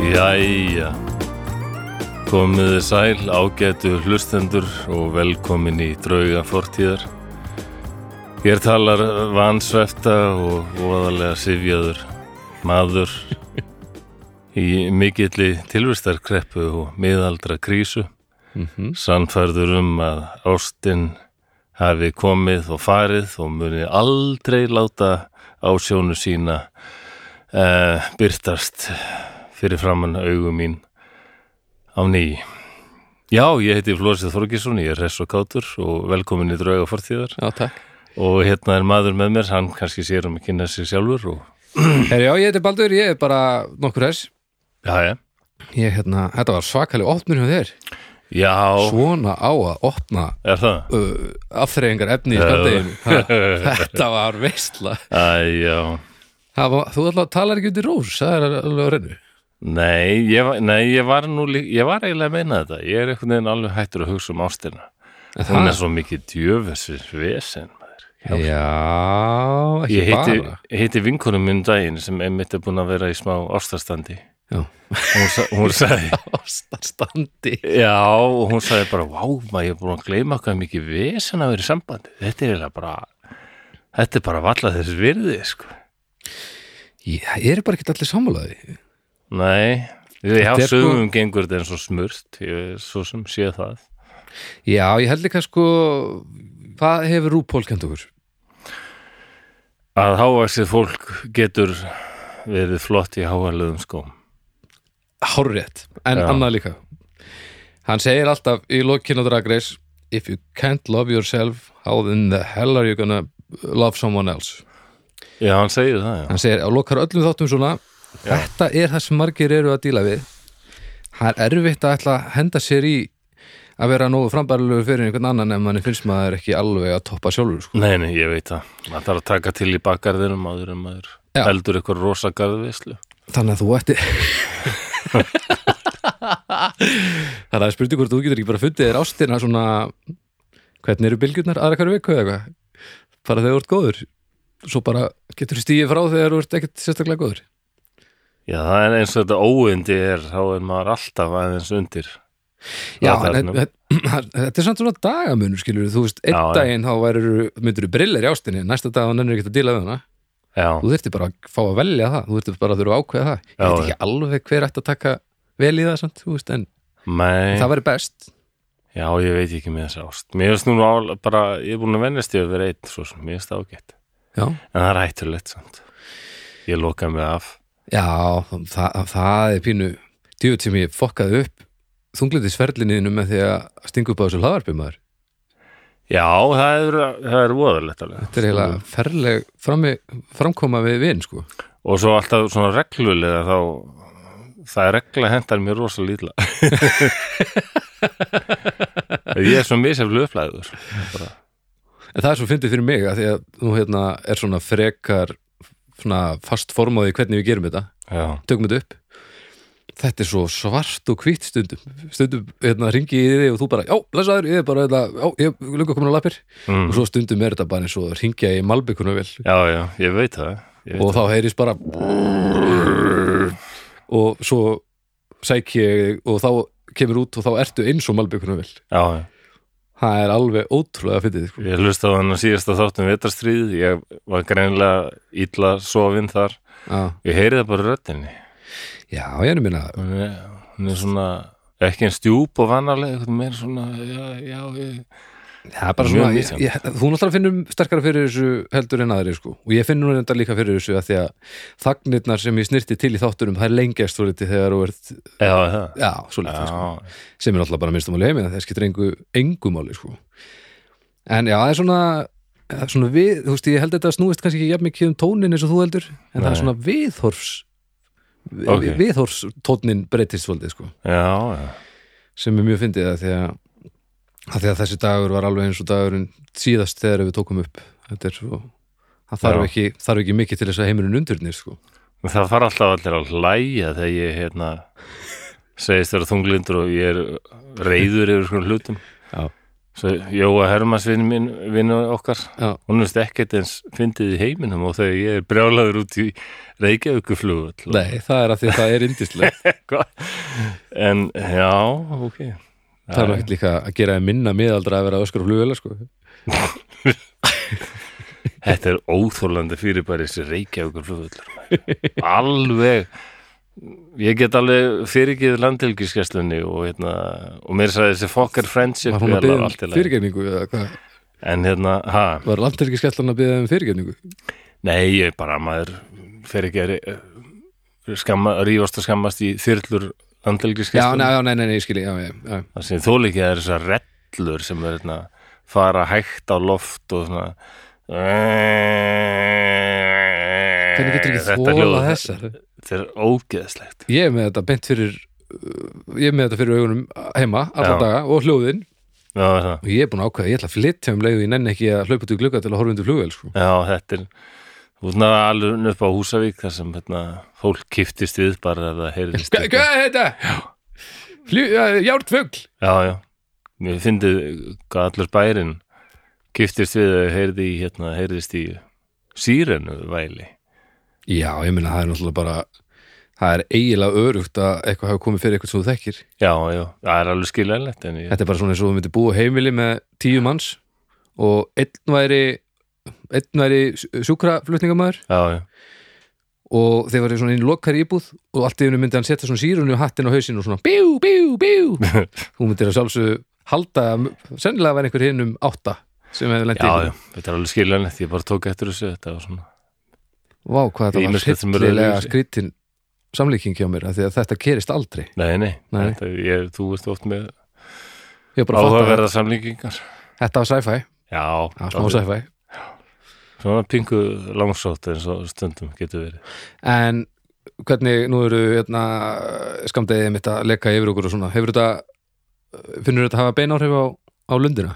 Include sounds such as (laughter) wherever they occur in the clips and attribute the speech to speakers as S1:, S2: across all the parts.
S1: Jæja, komiði sæl ágætu hlustendur og velkomin í drauga fortíðar. Hér talar vansvefta og voðalega sifjaður maður í mikilli tilvistarkreppu og miðaldra krísu. Sannfærður um að ástinn hafi komið og farið og muni aldrei láta ásjónu sína uh, byrtast fyrir framann augum mín á ný. Já, ég heiti Flósið Þorgisson, ég er hress og kátur og velkomin í drauga fortíðar
S2: Já, takk.
S1: og hérna er maður með mér, hann kannski sér um að kynna sig sjálfur og
S2: Heri, já, ég heiti Baldur, ég er bara nokkur þess.
S1: já, já,
S2: Ég, hérna, þetta var svakalega opnur hjá þér.
S1: já,
S2: Svona á að opna
S1: er það?
S2: (laughs) uh, afþreyingar efni í
S1: Já. (laughs)
S2: skandeginu. þetta var veistla.
S1: Æ, já,
S2: Það var- Þú alltaf talar ekki út í rós, það er alveg á reynu.
S1: nei, ég, var- nei, ég var nú, lí- ég var eiginlega að meina þetta, ég er einhvern veginn alveg hættur að hugsa um ástina. Hún er svo mikið djöfessis vesen, maður.
S2: Já, ekki
S1: Ég heiti,
S2: bara.
S1: heiti vinkunum minn um daginn sem einmitt er búin að vera í smá ástastandi.
S2: Já.
S1: Hún, sa-
S2: (laughs)
S1: hún sagði,
S2: Ástarstandi.
S1: Já, og hún sagði bara, vá, maður ég er búin að gleyma hvað mikið vesen að vera í sambandi. Þetta er eiginlega bara, þetta er bara valla þess virði, sko.
S2: Já, ég er bara ekki allir sammálaði.
S1: Nei, við
S2: Þetta
S1: hjá
S2: er sko-
S1: sögum gengur þetta eins og smurt, ég, svo sem sé það.
S2: Já, ég held líka sko, hvað hefur Rúpól kent okkur?
S1: Að hávaksið fólk getur verið flott í sko. hávalegum skóm.
S2: Hárrétt, en
S1: Já.
S2: annað líka Hann segir alltaf í lokinu Drag Race If you can't love yourself How in the hell are you gonna love someone else
S1: Já, hann segir það, já.
S2: Hann segir og lokar öllum þáttum svona Þetta er það sem margir eru að díla við Það er erfitt að ætla að henda sér í að vera nógu frambærilegur fyrir einhvern annan en manni finnst maður ekki alveg að toppa sjálfur sko.
S1: Nei, nei, ég veit það. Maður þarf að taka til í bakgarðinum áður en maður
S2: Já.
S1: eldur eitthvað rosa garðvislu.
S2: Þannig að þú ætti
S1: (laughs)
S2: Þannig að spurði hvort þú getur ekki bara fundið þér ástina svona hvernig eru bylgjurnar aðra hverju viku eða eitthvað bara þegar þú ert góður svo bara getur þú stíðið frá þegar þú ert ekkert sérstaklega góður
S1: Já, það er eins og þetta óindi er, þá er maður alltaf aðeins undir.
S2: Já,
S1: Það er
S2: en
S1: nú-
S2: þetta- þetta er samt svona dagamunur skilur þú veist, einn
S1: Já, já.
S2: daginn þá verður myndur þú brillir í ástinni, næsta dag þá nennir ekki að díla við hana
S1: Já,
S2: þú þurftir bara að fá að velja það þú þurftir bara að þurfa að ákveða það ég
S1: Já,
S2: veit ekki alveg hver ætti að taka vel í það samt, þú veist, en
S1: mei.
S2: það væri best
S1: Já, ég veit ekki með þessa ást. Mér finnst núna ál- bara, ég er búin að vennast ég að vera einn, svo sem mér finnst það ágætt.
S2: Já.
S1: En það er hættulegt samt. Ég loka mig af.
S2: Já, það, það er pínu djúið sem ég fokkaði upp þunglindisferlinniðinu með því að stinga upp á þessu hlaðarpi maður.
S1: Já, það er, það er voðalegt alveg.
S2: Þetta er eiginlega ferleg frammi, framkoma við vin, sko.
S1: Og svo alltaf svona reglulega þá, það er regla hendar mér rosa lítla. (laughs) ég er svo misjaflu upplæður.
S2: En það er svo fyndið fyrir mig að því að nú hérna er svona frekar svona fast formáði hvernig við gerum þetta,
S1: Já.
S2: tökum þetta upp. Þetta er svo svart og hvitt stundum. Stundum hérna ringi ég í þig og þú bara, já, blessaður, ég er bara, hérna, já, ég er lunga komin á lappir.
S1: Mm.
S2: Og svo stundum er þetta bara eins og ringja í malbygguna vel.
S1: Já, já, ég veit það. Ég veit
S2: og þá heyrist bara og svo sæk ég og þá kemur út og þá ertu eins og malbyggunum vel
S1: Já, já.
S2: það er alveg ótrúlega fyndið sko.
S1: Ég hlusta á hann að síðasta þáttum vetarstríð, ég var greinilega illa sofinn þar.
S2: já,
S1: Ég heyri það bara í röddinni.
S2: já, ég er minna
S1: Hún er, hún er svona, ekki en stjúp og vanalega, eitthvað meira svona, já, já, ég...
S2: það er bara
S1: Mjög
S2: svona, ég,
S1: misjafnt.
S2: ég, þú náttúrulega finnum sterkara fyrir þessu heldur en aðri sko. og ég finn nú þetta líka fyrir þessu að því að þagnirnar sem ég snirti til í þáttunum það er lengjast svo liti þegar þú ert
S1: Já, er það.
S2: já, svo liti sko.
S1: Já,
S2: sem er alltaf bara minnstum alveg heiminn það skiptir engu, engu máli sko. en já, það er svona, það er svona við, þú veist, ég held þetta snúist kannski ekki jafn mikið um tónin eins og þú heldur en það
S1: Nei.
S2: er svona viðhorfs vi-
S1: Ok.
S2: viðhorfs tónin breytist svolítið sko,
S1: já, já.
S2: sem er mjög fyndið að því að, að því að þessi dagur var alveg eins og dagurinn síðast þegar við tókum upp þetta er svo það þarf
S1: Já.
S2: ekki, þarf ekki mikið til þess að heimurinn undurnir sko.
S1: En Það fara alltaf allir að hlæja þegar ég, hérna, segist þér þunglindur og ég er reyður yfir svona hlutum.
S2: Já.
S1: Svo Jóa Hermansvinn minn, vinnu okkar,
S2: Já.
S1: hún veist ekkert eins fyndið í heiminum og þegar ég er brjálaður út í (laughs) Reykjavíkuflugu.
S2: Nei, það er að því að það er
S1: (laughs)
S2: indislegt
S1: En já, ok.
S2: Það er ekkert líka að gera þeim minna miðaldra að vera öskur og flugvela sko.
S1: Þetta er óþólandi fyrirbæri þessi Reykjavíkur
S2: (laughs)
S1: flugvöllur alveg ég get alveg fyrirgið landhelgiskesslunni og hérna og mér sagði þessi Fokker Friendship
S2: Var hún að byggja
S1: vélar
S2: um
S1: allt í lagi.
S2: fyrirgefningu eða hvað?
S1: en hérna, ha,
S2: Var landhelgi skellan að byggja um fyrirgefningu?
S1: nei ég bara maður fer ekki að eh, skamma, rífast og skammast í þyrlur
S2: Já, nei,
S1: landhelgiskesslunni
S2: já, nei, nei, nei, ég skilji já, já, já.
S1: það sem þó líka er þessar rellur sem er hérna fara hægt á loft og svona
S2: Hvernig
S1: Hvernig
S2: getur ekki þóla þessar?
S1: Þetta er ógeðslegt
S2: Ég er með þetta beint fyrir uh, ég er með þetta fyrir augunum heima alla
S1: Já.
S2: daga og hljóðin
S1: Já, það er það.
S2: og ég er búin að ákveða, ég ætla að flytja um leiðu ég nenni ekki að hlaupa út í glugga til að horfa undir flugvél sko.
S1: Já, þetta er Þú svona alveg upp á Húsavík þar sem hérna, fólk kiftist við bara ef það heyrðist
S2: Hva- Hvað er þetta? Fljú, uh, járnfugl
S1: Já, já Mér fyndið hvað allur bærin kiftist við að heyrði í hérna, heyrðist í sírenu væli
S2: Já, ég meina það er náttúrulega bara það er eiginlega örugt að eitthvað hafa komið fyrir eitthvað sem þú þekkir
S1: Já, já, það er alveg skiljanlegt en ég,
S2: Þetta er bara svona eins og þú myndir búa á heimili með tíu manns og einn væri einn væri sjúkraflutningamæður
S1: Já, já,
S2: og þeir væri svona einu lokar íbúð og allt í einu myndi hann setja svona sírunni og hattinn á hausinn og svona bjú, bjú,
S1: (laughs)
S2: bjú þú myndir að sjálfsög halda sennilega væri einhver hinn um átta sem hefur lent
S1: já, já Þetta er alveg skiljanlegt, ég bara tók eftir þessu Þetta var svona
S2: Vá, hvað þetta var
S1: Ýmislegt sem er
S2: hryllilega
S1: öðruvísi.
S2: skrítin samlíking hjá mér af því að þetta kerist aldrei
S1: Nei, nei,
S2: Nei.
S1: Þetta, ég, þú veist oft með
S2: ég bara fatta að
S1: áhugaverða samlíkingar
S2: þetta var sci-fi,
S1: Já,
S2: það var smá sci-fi
S1: svona pingu langsótt eins og stundum getur verið
S2: en hvernig nú eru hérna, skamdegið mitt að leka yfir okkur og svona, hefur þetta finnur þetta að hafa bein áhrif á, á lundina?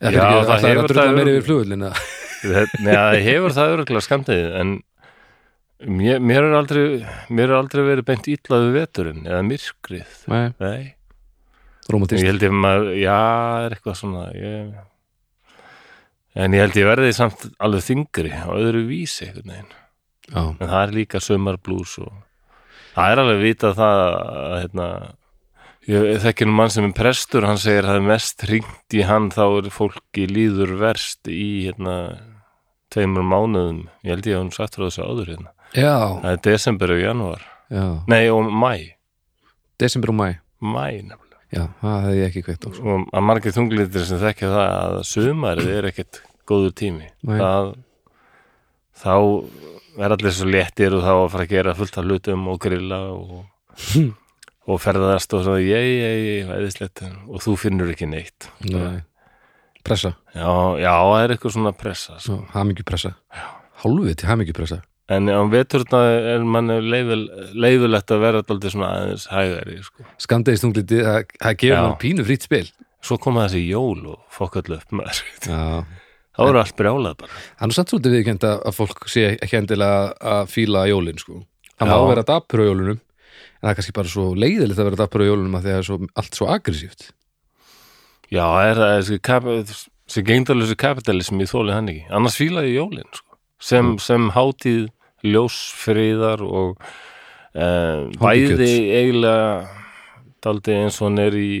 S2: Eða
S1: Já,
S2: fyrirgefðu,
S1: það
S2: ætlaðirðu
S1: hefur
S2: að drulla
S1: það
S2: meira
S1: örugglega.
S2: yfir flugvöllina
S1: Þetta- Nei, það hefur það örgulega skamdegið en mér, mér, er aldrei, mér er aldrei verið beint illa við veturinn eða myrkrið
S2: Nei,
S1: Nei,
S2: romantist
S1: ég held ég maður, já, er eitthvað svona ég... En ég held ég verði samt alveg þingri á öðru vísi einhvern veginn.
S2: Já,
S1: En það er líka sömarblús og það er alveg vitað það að hérna, ég þekki nú mann sem er prestur, hann segir að það er mest hringt í hann þá er fólki líður verst í hérna tveimur mánuðum, ég held ég að hún sagt frá þessu áður hérna,
S2: já,
S1: það er desember og janúar,
S2: já.
S1: nei og mæ
S2: desember og mæ
S1: mæ nefnilega,
S2: Já, það hefði ég ekki kveikt á sko.
S1: og að margir þunglítir sem þekki það að sömarið er ekkert góður tími,
S2: Nei.
S1: það þá er allir svo léttir og þá að fara að gera fullt af hlutum og grilla og og ferðast og svona ég, ég, ég, æðislegt og þú finnur ekki neitt
S2: Nei. Pressa,
S1: já, já, það er eitthvað svona pressa sko.
S2: hamingju pressa Hálfið til hamingju pressa
S1: en á veturna er manni leifil, leifilegt að vera alltaf svona aðeins hægari sko.
S2: Skamdegist tungliti, það það gefur
S1: Já.
S2: mann pínu frýtt spil
S1: svo koma þessi jól og fokkallu upp maður (laughs)
S2: Já
S1: þá eru allt brjálað bara
S2: Það er nú samt svolítið viðkend að að fólk sé ekki endilega að fíla jólin sko. Það
S1: Já.
S2: má vera dapur á jólunum en það er kannski bara svo leiðilegt að vera dapur á jólunum að því að það er svo, allt svo aggressíft
S1: já, er það þessi kap- þessi gengdalösi kapitalism ég þóli hann ekki, annars fíla ég jólin sko. sem, sem hátíð ljósfriðar og um,
S2: Hátíð
S1: bæði eiginlega daldi eins og hann er í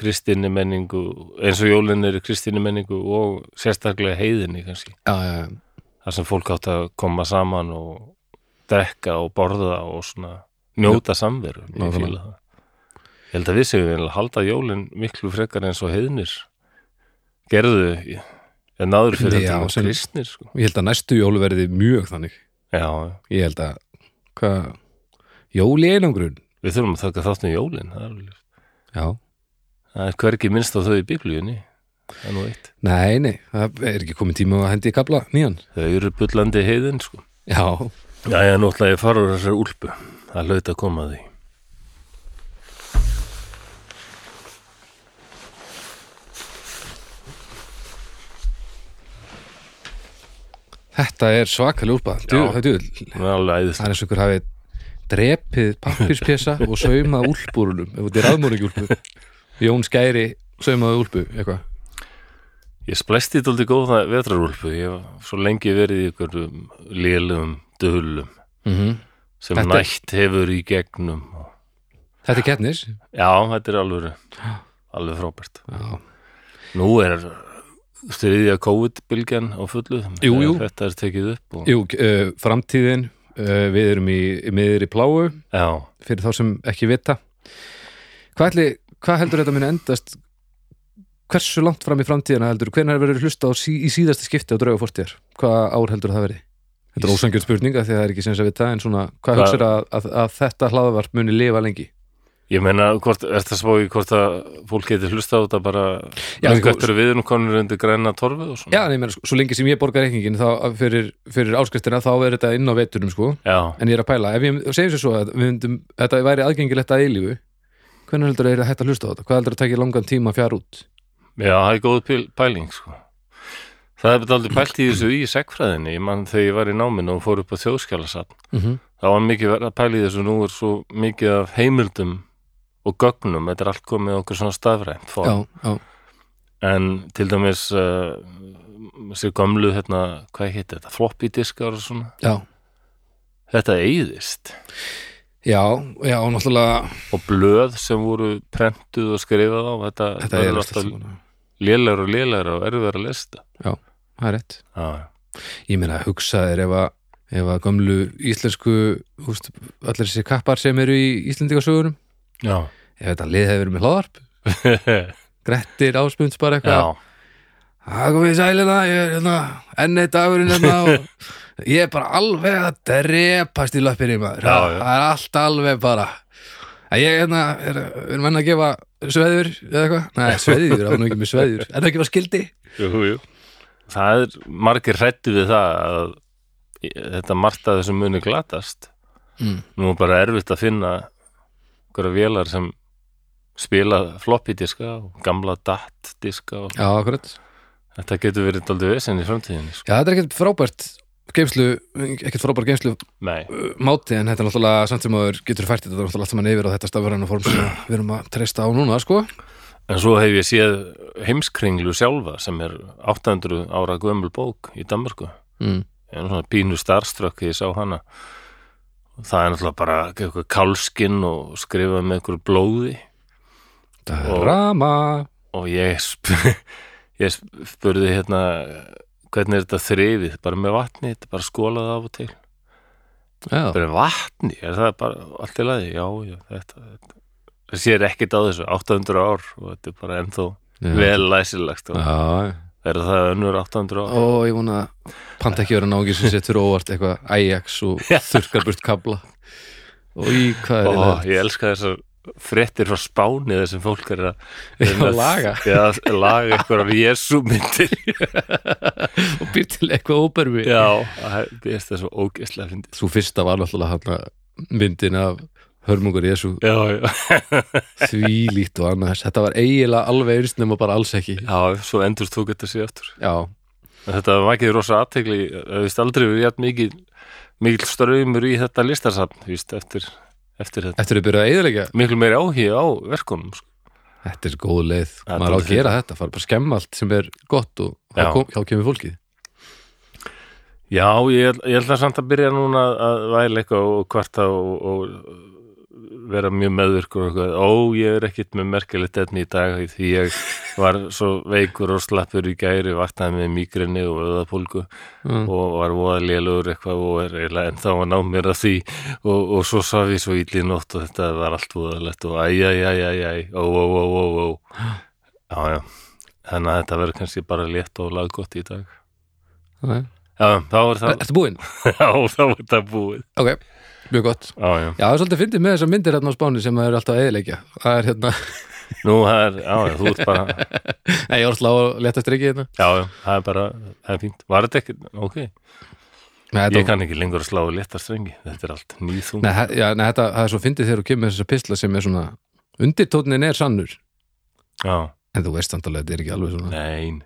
S1: kristinni menningu eins og jólinn er í kristinni menningu og sérstaklega heiðinni kannski
S2: Já, já, já.
S1: þar sem fólk átt að koma saman og drekka og borða og svona njóta samveru ég
S2: nákvæmlega.
S1: fíla það ég held að við segjum við að halda jólinn miklu frekar eins og heiðnir gerðu en náður
S2: Já,
S1: fyrir þetta
S2: sem-
S1: sem... kristnir sko.
S2: Ég held að næstu jól verði mjög þannig
S1: já,
S2: Ég held að hvað, jól í einangrun
S1: við þurfum að taka þátt um jólinn það er alveg ljóst.
S2: Já,
S1: það er hvergi minnst á þau í biblíunni það er nú eitt
S2: nei, nei, það er ekki komin tíma að hendi í kabla nýjan
S1: Þau eru bullandi heiðin sko
S2: Já,
S1: Já, já, nú ætla ég að fara úr þessari úlpu Það hlaut að koma að því
S2: þetta er svakalega úlpa Djú,
S1: Já.
S2: það, djú,
S1: Það er alveg æðist
S2: það er eins og ykkur hafi drepið pappirspjessa og saumað úlpúrunum ef þetta er aðmóringúlpu Jón Skæri saumaði úlpu, eitthvað
S1: Ég splæsti þetta aldrei góða vetrarúlpu, ég hef svo lengi verið í einhverjum lélum dölum
S2: mm
S1: sem
S2: Þetta er-
S1: nætt hefur í gegnum. og-
S2: Þetta er keppnis
S1: Já, þetta er alveg, alveg frábært.
S2: Já,
S1: Nú er þriðja COVID-bylgjan á fullu,
S2: Jú,
S1: þegar
S2: jú.
S1: þetta er tekið upp. Og,
S2: Jú, uh, framtíðin uh, við erum í, í miður í pláu
S1: já,
S2: fyrir þá sem ekki vita hvað, ætli, hvað heldur þetta muni endast hversu langt fram í framtíðina heldur hvenær verður hlusta á sí, í síðasta skipti á drauga fórstíðar, hvað ár heldur það verði Þetta er
S1: Ís-
S2: ósangjörn spurning af því að það er ekki sens að vita en svona, hvað
S1: Hvað-
S2: hugsar að, að, að þetta hlaðavarp muni lifa lengi?
S1: ég meina, hvort, er það spóið hvort að fólk getur hlusta á þetta bara
S2: Já,
S1: Já,
S2: sko-
S1: eftir að við erum konur undir græna torfu
S2: Já,
S1: og svona.
S2: en ég meina, sko, svo lengi sem ég borga reikningin þá, fyrir, fyrir áskriftina þá er þetta inn á veturum sko,
S1: Já,
S2: en ég er að pæla ef ég segjum sér svo að við myndum, þetta væri aðgengilegt að eilífu hvernig heldur þetta hægt að hlusta á þetta? Hvað heldur þetta takir langan tíma fjár út?
S1: já, það er góð pil- pæling, sko. Það er aldrei pælt í þessu í segfræðinni, ég mann þegar ég var í náminu og fór upp á þjóðskjálasatn.
S2: Mm -hmm.
S1: Það var mikið verið að pæla í þessu, nú er svo mikið af heimildum og gögnum, þetta er allt komið á okkur svona stafrænt
S2: Já,
S1: form.
S2: já,
S1: En til dæmis, uh, sér gömlu, hérna, hvað heitir þetta, floppy diskar og svona.
S2: já
S1: Þetta eyðist.
S2: Já, já, og náttúrulega
S1: Og blöð sem voru prentuð og skrifað á, þetta,
S2: þetta er
S1: alltaf
S2: alltaf
S1: lélæra og lélæra og erfiðar að lesta.
S2: Það er rétt
S1: Já, já.
S2: Ég meina, hugsa þér ef að ef að gömlu íslensku húst, allir þessi kappar sem eru í Íslendingasögunum
S1: Já, (laughs)
S2: ef þetta lið hefur verið með hlaðarp Grettir, Ásmunds bara eitthvað
S1: já,
S2: Það komið í sælina, ég er hérna enn eitt dagurinn hérna
S1: (laughs)
S2: og ég er bara alveg að drepast í löppinni maður.
S1: Já, já.
S2: Það er allt alveg bara. Að ég hérna, er, við erum enn að gefa sveður eða eitthvað? Nei, sveður, það var nú ekki með sveður. Er það ekki var skildi?
S1: jú, jú. Það er margir hrættu við það að þetta margt að þessu muni glatast.
S2: Mm.
S1: Nú er bara erfitt að finna einhverja vélar sem spila floppy diska og gamla DAT diska og
S2: Já, akkurat.
S1: þetta getur verið daldið vesinn í framtíðinni. Sko.
S2: Já, þetta er ekkert frábært geimslu, ekkert frábært geimslu uh,
S1: Nei,
S2: máti en þetta er náttúrulega samt sem aður getur fært þetta náttúrulega allt saman yfir á þetta stafræna form sem við erum að treysta á núna, sko.
S1: en svo hef ég séð heimskringlu sjálfa sem er 800 ára gömul bók í Danmarku.
S2: Mm.
S1: ég er nú svona pínu starströkk ég sá hana það er náttúrulega bara eitthvað kálskinn og skrifað með eitthvað blóði
S2: Drama.
S1: og ég, sp (laughs) ég spurði hérna hvernig er þetta þrifið, bara með vatni þetta er bara skólað af og til
S2: Já,
S1: bara vatni, er það bara allt í lagi, já, já, þetta, þetta. það sér ekkert á þessu, 800 ár og þetta er bara ennþá
S2: Já.
S1: vel læsilegt og
S2: Já, já.
S1: er það önnur 800 ár
S2: Ó, ég vona að panta ekki vera náungi sem setur óvart eitthvað Ajax og þurkar burt kabla og í hvað er
S1: Ó,
S2: það?
S1: ég elska þessar fréttir frá Spáni þar sem fólk er að
S2: Já,
S1: reyna að-
S2: (laughs) laga.
S1: Já, laga eitthvað Jésu myndir
S2: (laughs) Og býr til eitthvað óberfi
S1: Já, það er það svo ógeðslega fyndið
S2: Svo fyrsta var náttúrulega hann myndin af hörmungur Jésu
S1: Já, já,
S2: þvílíkt og annars Þetta var eiginlega alveg eins nema bara alls ekki
S1: já, svo endur tók þetta sér aftur
S2: Já,
S1: En Þetta var ekki rosa aðtegli Vist aldrei við jætt mikið mikil ströymur í þetta listasafn Vist eftir, eftir þetta
S2: eftir að byrja að eiginlega
S1: Miklu meiri áhugi á verkunum sko.
S2: Þetta er góð leið,
S1: Það
S2: maður
S1: er
S2: á að
S1: dálítið
S2: gera þetta fara bara að skemma allt sem er gott og þá
S1: Já.
S2: kom, þá kemur fólkið
S1: Já, ég, ætl- ég ætla samt að byrja núna að væla eitthvað og kvarta og, og vera mjög meðvirkur og eitthvað. Ó, ég er ekkit með merkilegt etni í dag því ég var svo veikur og slappur í gæri, vaknaði með migrini og öðapólgu
S2: Mm.
S1: og var voða lélugur eitthvað og er eiginlega ennþá að ná mér að því og, og svo saf ég svo ítli nótt og þetta var allt voðalegt og æj, æj, æj, æj, æj, ó, ó, ó, ó, ó. Já, já, þannig að þetta verður kannski bara létt og laggott í dag.
S2: Nei.
S1: Já, þá er það,
S2: Ertu búinn?
S1: (laughs) já, þá er það búið.
S2: Ok, mjög gott
S1: Já, já.
S2: Já, það er svolítið fyndið með þessar myndir hérna á Spáni sem það eru alltaf að eðilegja. Það er hérna, (laughs)
S1: Nú, það er, já, já, þú ert bara,
S2: nei, ég orðla á að leta strikið hérna.
S1: já, já, það er bara, það er fínt. Var þetta ekki, ok,
S2: Nei, þetta,
S1: ég kann ekki lengur að slá í léttar strengi, þetta er allt nýþung.
S2: nei, hæ- já, nei, þetta það er svo fyndið þegar þú kemur með þessar pistla sem er svona, undirtótnin er sannur,
S1: Já,
S2: en þú veist andalega, þetta er ekki alveg svona.
S1: nein,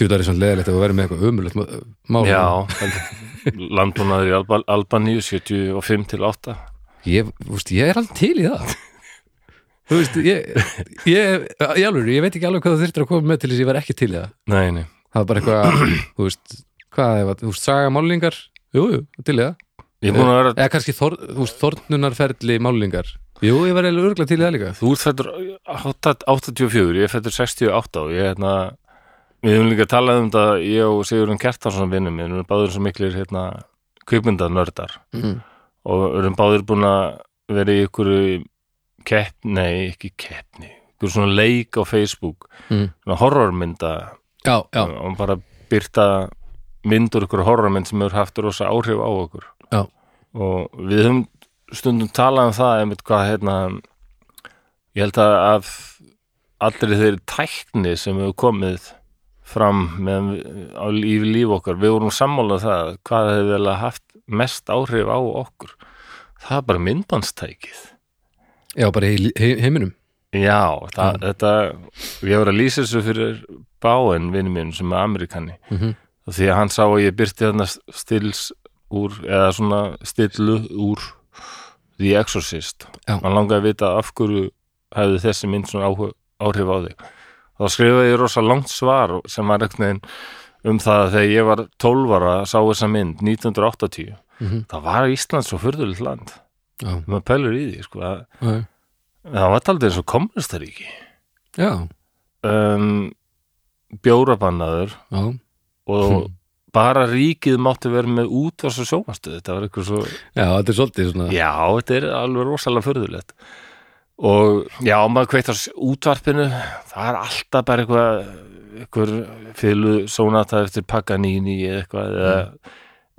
S2: Þú það er svona leðilegt að vera með eitthvað umulegt mál. hérna.
S1: já, heldur. (laughs) landbúnaður í Alba, Albaníu 75 til 8.
S2: Ég, þú veist, ég er alveg til í það. (laughs) þú veist, ég, ég, ég, alveg, ég veit ekki alveg hvað þú þyrftir að koma með til þess að ég var ekki til í það
S1: Nei, nei,
S2: það var bara eitthvað, (clears throat) þú veist hvað, ef að- þú veist, saga málingar jú, jú, til í það
S1: ég er búin að vera
S2: eða kannski þor, þú veist, þornunarferli málingar jú, ég var eiginlega örgla til í það líka
S1: Þú ert fættur 84, ég er fættur 68 og ég er hérna við höfum líka talað um þetta, ég og Sigurinn Kjartarsson vinnum, við erum báður svo miklir hérna, kvikmyndanördar
S2: mm.
S1: og erum báður búin að vera í ykkur kepp, nei, ekki keppni ykkur svona leik á Facebook
S2: Mm.
S1: svona horrormynda
S2: já, já,
S1: og bara byrta myndur ykkur horrormynd sem hefur haft rosa áhrif á okkur
S2: Já.
S1: og við höfum stundum talað um það einmitt hvað hérna ég held að af allri þeirri tækni sem hefur komið fram með, á líf, líf okkar, við vorum sammálað það hvað hefur vel haft mest áhrif á okkur það er bara myndbandstækið
S2: já, bara í he heiminum
S1: Já, það,
S2: Mm.
S1: þetta ég var að lýsa þessu fyrir Báen vinnu minn sem er Amerikani
S2: Mhm.
S1: og því að hann sá að ég byrti þarna stils úr, eða svona stillu úr The Exorcist
S2: Já.
S1: hann langaði að vita af hverju hefði þessi mynd svona áhu- áhrif á þig þá skrifaði ég rosa langt svar sem var einhvern veginn um það að þegar ég var 12 ára sá þessa mynd 1980
S2: Mhm.
S1: það var Ísland svo furðulegt land
S2: já,
S1: maður pælur í því sko að
S2: já,
S1: það var aldrei eins og komlustaríki
S2: já,
S1: um, bjórabannaður
S2: já.
S1: og bara ríkið mátti vera með útvars og sjómanstöð þetta var eitthvað svo,
S2: já þetta er svolítið svona
S1: já, þetta er alveg rosalega förðulegt og já, maður kveitt á s- útvarpinu það er alltaf bara eitthvað eitthvað fylu sónata eftir Paganini eða eitthvað eða,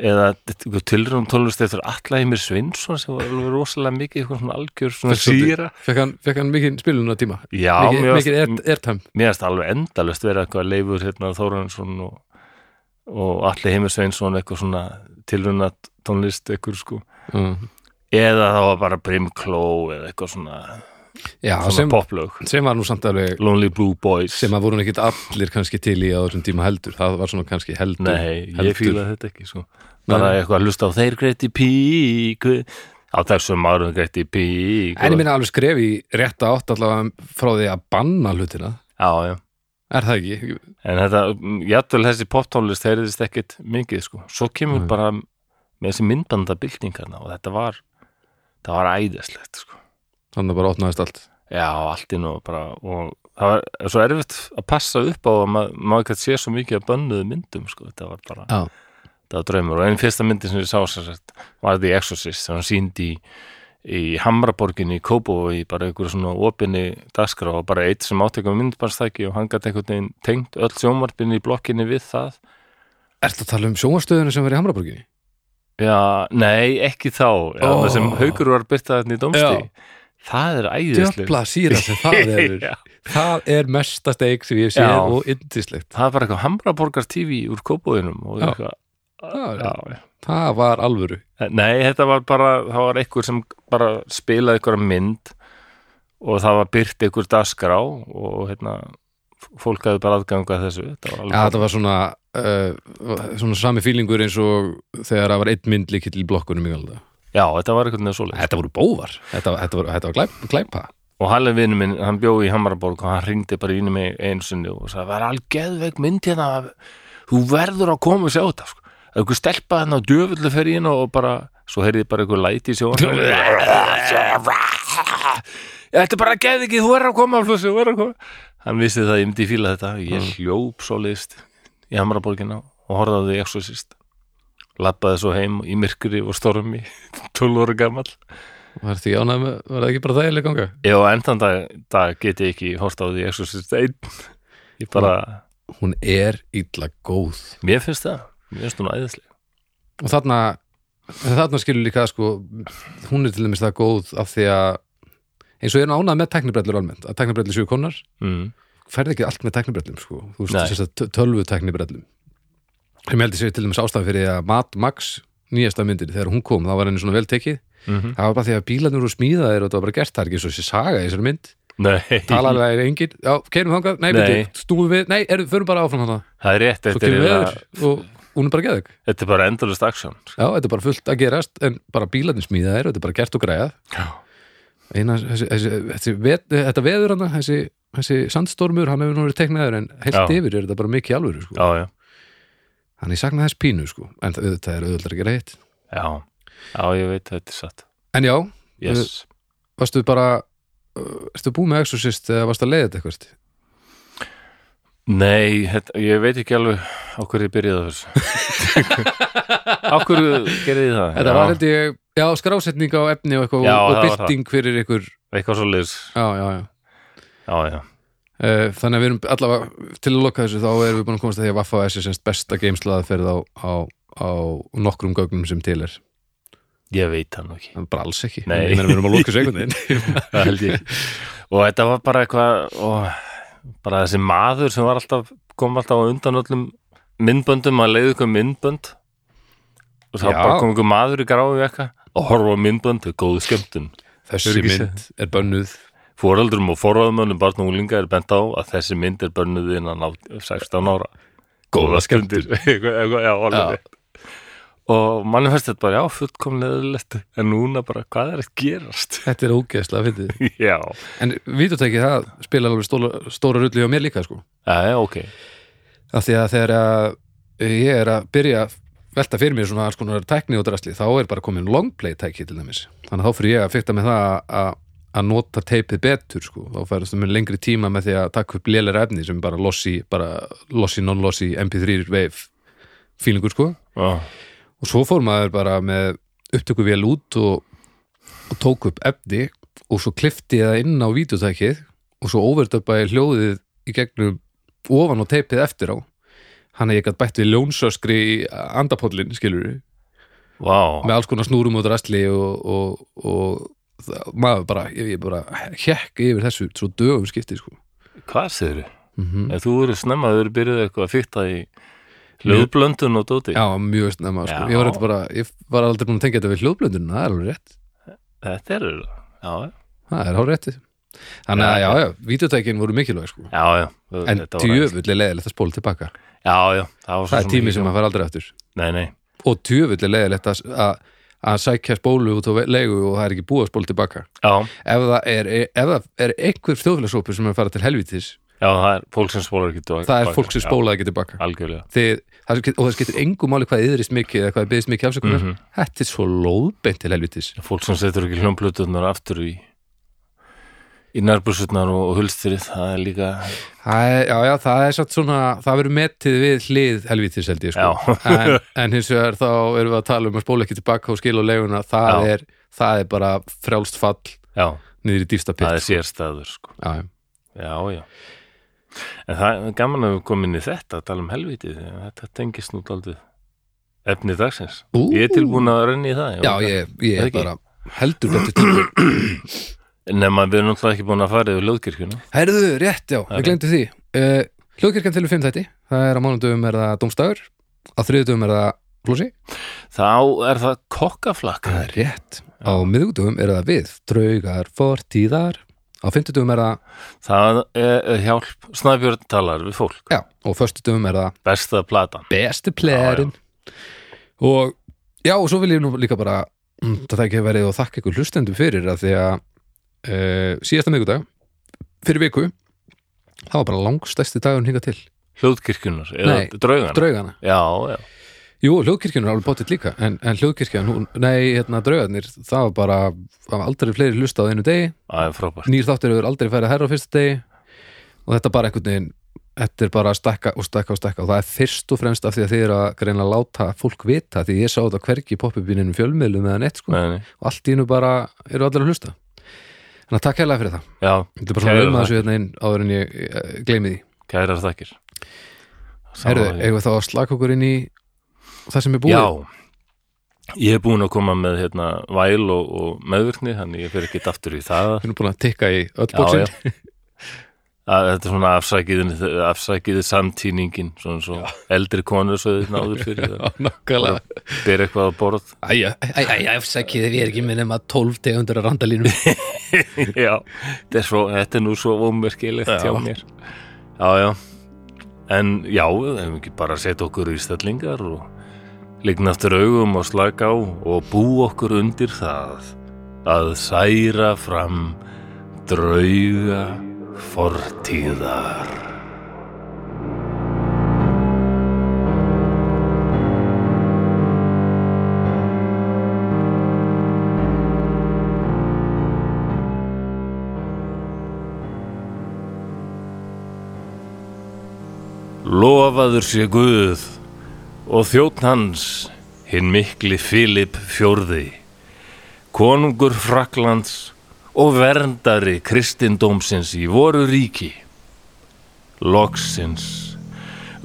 S1: eða eitthvað tilrúm tólust eftir Allaheimir Svinsson sem var alveg rosalega mikið eitthvað svona algjör svona
S2: Fyrst svolítið.
S1: síra
S2: fekk hann, fekk hann mikið spiluna tíma
S1: já,
S2: mikið,
S1: mér varst-
S2: mikið air- airtime
S1: mér finnst alveg endalust vera eitthvað leifur hérna Þórunnsson og, og Alli Heimir Sveinsson eitthvað svona tilruna tónlist eitthvað sko
S2: já,
S1: eða það var bara Brimkló eða eitthvað svona,
S2: já
S1: svona
S2: sem,
S1: poplög
S2: sem var nú samt alveg
S1: Lonely Blue Boys
S2: sem að voru nú ekkit allir kannski til í á þessum tíma heldur, það var svona kannski heldur
S1: Nei,
S2: heldur.
S1: ég fíla þetta ekki sko bara eitthvað að hlusta á þeir Gretti Pík á þessum árum Gretti Pík
S2: en ég
S1: og-
S2: minna alveg skref í rétta átt allavega frá því að banna hlutina
S1: Já, já
S2: er það ekki?
S1: En þetta, jafnvel þessi poptónlist heyrðist ekkit mikið sko. Svo kemur
S2: Nei.
S1: bara með þessi myndbandabildingarna og þetta var, það var æðislegt sko.
S2: þannig að bara opnaðist allt
S1: Já, allt inn og bara, og það var svo erfitt að passa upp á að maður, maður ekki sé svo mikið að bönnuðu myndum sko. Þetta var bara,
S2: Já.
S1: þetta var draumur. Og einn fyrsta myndi sem ég sá sér sett var The Exorcist sem hann síndi í, í Hamraborginni í Kópavogi, bara einhverju svona opinni dagskrá og bara eitt sem átökum myndbarnstæki og hann gat einhvern veginn tengt öll sjónvarpinni í blokkinni við það
S2: Ertu að tala um sjónvarstöðuna sem var í Hamraborginni?
S1: Já, nei, ekki þá Já,
S2: Ó.
S1: Það sem haukur var byrtað hérna í
S2: Já.
S1: domstí Það er æðislega
S2: Djöfla síra sem
S1: (laughs)
S2: það er
S1: Já.
S2: Það er mesta steik sem ég sé
S1: Já.
S2: og yndislegt
S1: Það er bara eitthvað Hamraborgar TV úr kópóðinum og
S2: Já.
S1: eitthvað
S2: það,
S1: Já.
S2: er- það var alvöru
S1: Nei, þetta var bara, það var einhver sem bara spilaði einhverja mynd og það var byrt einhver dagskrá og hérna f- fólk hafði bara aðganga þessu Þetta var
S2: Já,
S1: alveg
S2: þetta var svona uh, svona sami fílingur eins og þegar það var einn mynd líkill í blokkunum í galda
S1: Já, þetta var einhvern veginn svoleið
S2: Þetta voru bóvar Þetta, þetta, var, þetta var glæp, glæpa
S1: og Halli vinnu minn, hann bjó í Hammarborg og hann ringdi bara inn í mig einu sinni og sagði, það er algeðveik mynd hérna þú verður að koma og sjá þetta sko. Það er einhver stelpa hérna og djöfullu fer í hérna og bara, svo heyrði ég bara einhver læti í sjón Þetta er bara geð ekki, þú er að koma flossi, þú er að koma Hann vissi það, að ég myndi fíla þetta ég hljóp svo list í Hammarborgina og horfði á því exorcist lappaði svo heim í myrkri og stormi (laughs) 12 ára gamall
S2: Var, því, ánægð með, var það ekki bara þægileg ganga?
S1: Já, endan dag, dag get ég ekki hort á því Exorcist 1 Ég bara,
S2: Hún er illa góð
S1: mér finnst það Mér finnst hún æðislega
S2: og þarna þarna skilur líka sko hún er til dæmis það góð af því að eins og ég er nánað með teknibrellur almennt að teknibrellur séu konar,
S1: mm.
S2: færði ekki allt með teknibrellum sko, þú
S1: Nei.
S2: veist þess að tölvu teknibrellum sem heldur sér til dæmis ástæðan fyrir að Mad Max nýjasta myndin, þegar hún kom, þá var henni svona vel tekið
S1: Mhm.
S2: það var bara því að bílarnir voru smíðaðir og það var bara gert það er ekki eins og þessi saga í þessari mynd
S1: Nei,
S2: talalega er engin, já, keirum þangað, nei,
S1: Nei.
S2: nei. stúum við, nei, erum, förum bara áfram þarna
S1: það er rétt
S2: svo
S1: Þetta er,
S2: kemur við
S1: eiginlega-
S2: öður og hún er bara geðug
S1: þetta er bara endalust aksjón
S2: Já, þetta er bara fullt að gerast en bara bílarnir smíða þeir og þetta er bara gert og græjað eina, þessi, þessi, þessi, vet, þetta veður hann þessi, þessi sandstormur, hann hefur nú verið teiknaður en heilt
S1: Já.
S2: yfir er þetta bara mikið alvöru sko.
S1: já, já,
S2: hann ég sakna þess pínu sko. en það- auðvitað er auðvitað að gera hitt
S1: já, já, ég veit þetta er satt
S2: en já,
S1: yes.
S2: varstu bara uh, ertu búið með Exorcist eða varstu að leiða þetta eitthvað
S1: Nei, þetta, ég veit ekki alveg á hverju ég byrjaði á (laughs) þessu Á hverju gerði ég það?
S2: þetta
S1: Já,
S2: var held ég, já, skrásetning á efni og, eitthvað,
S1: Já,
S2: og, og
S1: það var það.
S2: byrting fyrir ykkur
S1: Eitthvað svo liðs
S2: já, já, já
S1: Já, já,
S2: Eh, Þannig að við erum allavega til að loka þessu þá erum við búin að komast að því að Vaffa S er semst besta geimslaðaferð á, á, á nokkrum gögnum sem til er
S1: ég veit það nú ekki
S2: en bara alls ekki,
S1: Nei.
S2: Ég meina, við erum að loka þessu einhvern veginn
S1: Það held ég ekki. (laughs) Og þetta var bara eitthvað og, bara þessi maður sem var alltaf kom alltaf á undan öllum myndböndum að leiði ykkur myndbönd og þá
S2: Já.
S1: bara kom ykkur maður í gráðu eitthvað og horfa á myndbönd og góðu skemmtun
S2: Þessi
S1: Hefur ekki
S2: mynd er bönnuð
S1: Fóreldrum og forraðmönnum barn og úlinga er bent á að þessi mynd er bönnuð innan á- 16 ára. Góða skemmtir. (laughs) Eitthvað- eitthvað, já, alveg.
S2: Já.
S1: rétt. Og manni fannst þetta bara, já, fullkomlega eðlilegt, en núna bara, hvað er að gerast? (laughs)
S2: Þetta er ógeðslega fyndið
S1: já,
S2: En vítutæki það spila alveg stóla, stóra rullu á mér líka sko
S1: já, ok.
S2: af því að þegar að ég er að byrja að velta fyrir mér svona alls konar tækni og drasli þá er bara komin longplay tæki til dæmis þannig að þá fyrir ég að fyrta með það að, að nota teipið betur sko þá færast það með lengri tíma með því að taka upp lélir efni sem bara lossi, bara lossi non-lossi mp3 wave fílingur sko
S1: Já,
S2: og svo fór maður bara með upptöku vel út og, og tók upp efni og svo klifti ég það inn á vítutækið og svo overdubbaði hljóðið í gegnum ofan og teipið eftir á hann að ég gætt bætt við ljónsöskri í andapollin, skilur við
S1: vá,
S2: með alls konar snúrum og drasli og, og, og það, maður bara, ég, ég bara hekk yfir þessu svo dögum skipti sko.
S1: hvað segir þau?
S2: mm
S1: Ef þú verið snemma, þú verið byrjuð eitthvað að fykta í hljóðblöndun og dóti.
S2: já, mjög snemma sko. ég, var
S1: Já.
S2: þetta bara, ég var aldrei búin að tengja þetta við hljóðblöndunum það er alveg rétt
S1: Þetta er það. Já,
S2: Það er hár rétti Þannig að já, já, vítjótækin voru mikilvæg sko
S1: já, já. já
S2: En
S1: þetta var aðeins-
S2: tjöfull er leiðilegt að spóla tilbaka
S1: Já, já, það var svo
S2: Það er
S1: sem
S2: tími
S1: ekki-
S2: sem maður fær aldrei aftur
S1: Nei, nei,
S2: Og tjöfull er leiðilegt að, að, að sækja spólu út á ve- leigu og það er ekki búið að spóla tilbaka
S1: já,
S2: Ef það er, ef það er einhver þjóðfélagsópur sem er að fara til helvítis
S1: já, það er fólk sem spólar ekki tilbaka.
S2: Það er fólk sem
S1: Já,
S2: spólaði ekki tilbaka
S1: Algjörlega.
S2: Þið, það, sem get- Og það skiptir engu máli hvað yðrist mikið eða hvað er byggðist mikið afsökunar
S1: Mhm.
S2: Þetta er svo lóðbeint til helvítis
S1: fólk sem setur ekki hljómbluturnar aftur í í nærbúrsurnar og, og hulstrið það er líka,
S2: Það er, já, já, það er satt svona, það verður metið við hlið helvítis held ég sko. en, en hins vegar þá erum við að tala um að spóla ekki tilbaka og skila á leiguna, það
S1: Já.
S2: er, það er bara frjálst fall
S1: já,
S2: niður í dýfsta
S1: það
S2: pitt.
S1: er sérstæður sko.
S2: Já, já.
S1: já, já en það er gaman að við komum inn í þetta að tala um helvítið, því að þetta tengist nú aldrei efni dagsins
S2: Ú,
S1: ég er tilbúin að renni í það
S2: Já, ég, ég
S1: Það
S2: er
S1: ekki?
S2: bara heldur betur til.
S1: nema við erum náttúrulega ekki búin að fara yfir löðkirkjuna
S2: Herðu, rétt, já,
S1: Það er
S2: við glemdu því. Uh, Hljóðkirkjan til fimm þætti, það er á mánudöfum er það domstagur, á þriðudöfum er það flósi,
S1: þá er það kokkaflakk
S2: það er rétt, á miðugdöfum er það við, draugar, fortíðar, á fimmtudöfum er það,
S1: það er, er hjálp, snæbjörn talar við fólk,
S2: já, og föstudöfum er það
S1: besta platan
S2: besti playerinn og já og svo vil ég nú líka bara mm, það ekki verið og þakka ykkur hlustendum fyrir að því að uh, síðasta miðgudag fyrir viku það var bara langstæsti dagur hingað til
S1: hljóðkirkjunar, eða
S2: Nei,
S1: draugana
S2: draugana,
S1: já, já,
S2: jú hljóðkirkjun er alveg bóttið líka en, en hljóðkirkjan, hún, nei hérna draugarnir það var bara, það var aldrei fleiri hlusta á einu degi,
S1: það er frábært
S2: nýr þáttur hefur aldrei færið að herra á fyrsta degi og þetta bara einhvern veginn Þetta er bara að stekka og stekka og stekka og það er fyrst og fremst af því að þið eru að greina að láta fólk vita því ég sá þetta hvergi í poppupininu fjölmiðlum eða neitt sko
S1: nei, nei.
S2: og allt í nú bara eru allir að hlusta Þannig að takk hérlega fyrir það
S1: já,
S2: Þetta er bara svona
S1: Kærar
S2: um að
S1: þakkir.
S2: þessu hérna inn áður en ég eh, gleymi því
S1: Kærar þakkir
S2: Herðu,
S1: Sammála því.
S2: eigum við þá að slaka okkur inn í það sem er búið
S1: Já, ég er búin að koma með hérna væl og, og meðvirkni þannig ég fer ekki aftur í það
S2: Við erum búin að tikka í öll
S1: já, já.
S2: (laughs) bóksin
S1: Að, Þetta er svona afsækiðin afsækiði samtíningin svona svo eldri konur svo þið náður (laughs) fyrir það
S2: Nákvæmlega
S1: ber eitthvað á borð
S2: Æja, æja, afsækið við erum ekki með nema 12 tegundur að (laughs) randalínum
S1: Já, þetta er, svo, þetta er nú svo ómerkilegt hjá
S2: Já.
S1: mér Já, já En já, við hefum ekki bara að setja okkur í stællingar og líkna aftur augum og slaka á og bú okkur undir það að særa fram drauga fortíðar. Lofaður sé Guð og þjótt hans, hinn mikli Filip fjórði, konungur Fraklands og verndari kristindómsins í voru ríki. Loksins,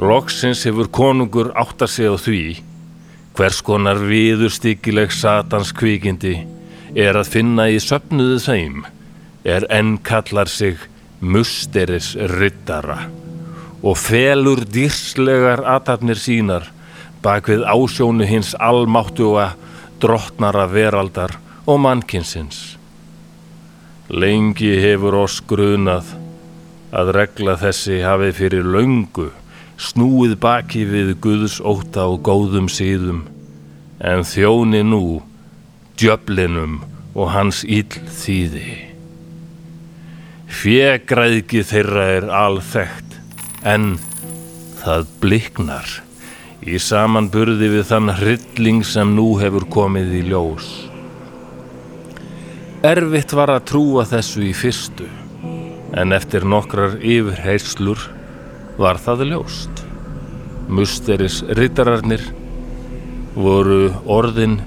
S1: loksins hefur konungur átta sig á því, hvers konar viðurstyggileg satans kvikindi er að finna í söfnuðu þeim, er enn kallar sig musteris riddara og felur dýrslegar athafnir sínar bak við ásjónu hins almáttuga drottnara veraldar og mannkinsins. Lengi hefur oss grunað að regla þessi hafi fyrir löngu snúið baki við Guðs óta og góðum síðum en þjóni nú djöflinum og hans ill þýði. Fjegræðgi þeirra er alþekkt en það bliknar í samanburði við þann hrylling sem nú hefur komið í ljós. Erfitt var að trúa þessu í fyrstu en eftir nokkrar yfirheyslur var það ljóst. Musteris rittararnir voru orðin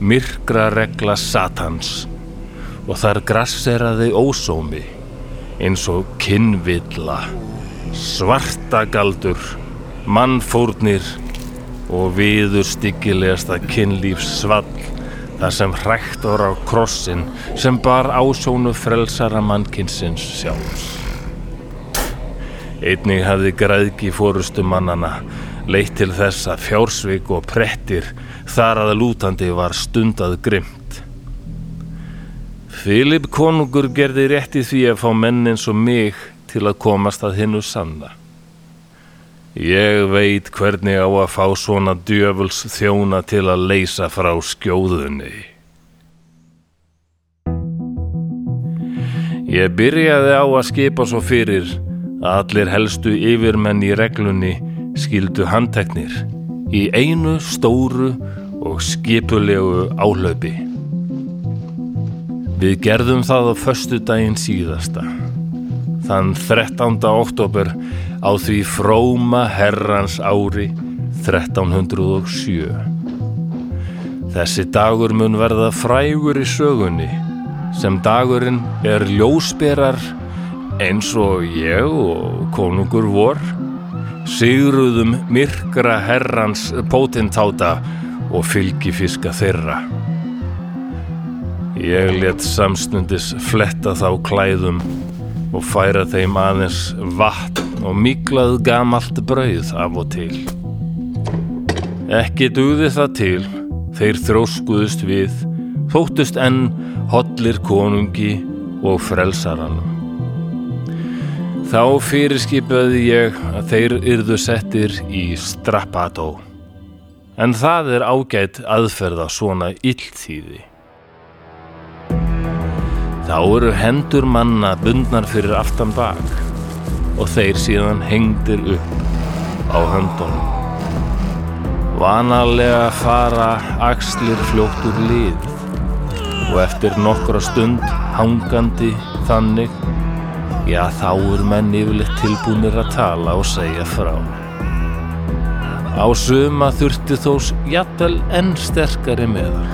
S1: myrkra regla satans og þar grasseraði ósómi eins og kinnvilla svartagaldur, mannfórnir og viður styggilegasta kynlífsvall þar sem hrækt var á krossin sem bar ásónu frelsara mannkinsins sjálfs. Einnig hafði græðgi fórustu mannana leitt til þess að fjársvik og prettir þar að lútandi var stundað grimt. Filip konungur gerði rétt í því að fá menn eins og mig til að komast að hinnu sanna. Ég veit hvernig á að fá svona djöfuls þjóna til að leysa frá skjóðunni. Ég byrjaði á að skipa svo fyrir að allir helstu yfirmenn í reglunni skildu handteknir í einu stóru og skipulegu álaupi. Við gerðum það á föstudaginn síðasta þann 13. oktober á því fróma herrans ári 1307. Þessi dagur mun verða frægur í sögunni sem dagurinn er ljósberar eins og ég og konungur vor sigruðum myrkra herrans potentáta og fylgifiska þeirra. Ég let samstundis fletta þá klæðum og færa þeim aðeins vatn og miklað gamalt brauð af og til. Ekki dugði það til, þeir þróskuðust við, þóttust enn hollir konungi og frelsaranum. Þá fyrirskipaði ég að þeir yrðu settir í strappató, en það er ágætt aðferða svona illtíði. Þá eru hendur manna bundnar fyrir aftan bak og þeir síðan hengdir upp á höndunum. Vanalega fara axlir fljótt úr lið og eftir nokkra stund hangandi þannig, já þá er menn yfirleitt tilbúinir að tala og segja frá. Á suma þurfti þós jafnvel enn sterkari meðar.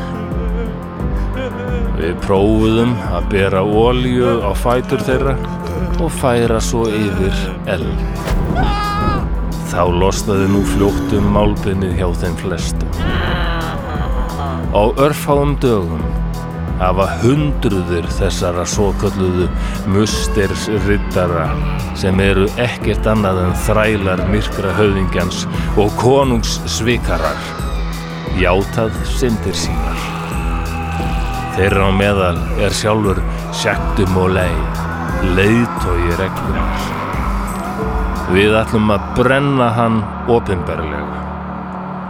S1: Við prófuðum að bera ólíu á fætur þeirra og færa svo yfir eld. Þá losnaði nú fljóttum málbynið hjá þeim flestum. Á örfáum dögum hafa hundruður þessara svo kalluðu mustersrittara sem eru ekkert annað en þrælar myrkra höfingjans og konungs svikarar játað syndir sínar. Þeirra á meðal er sjálfur Sjæktum og lei, leiðtói reglunar. Við ætlum að brenna hann opinberlega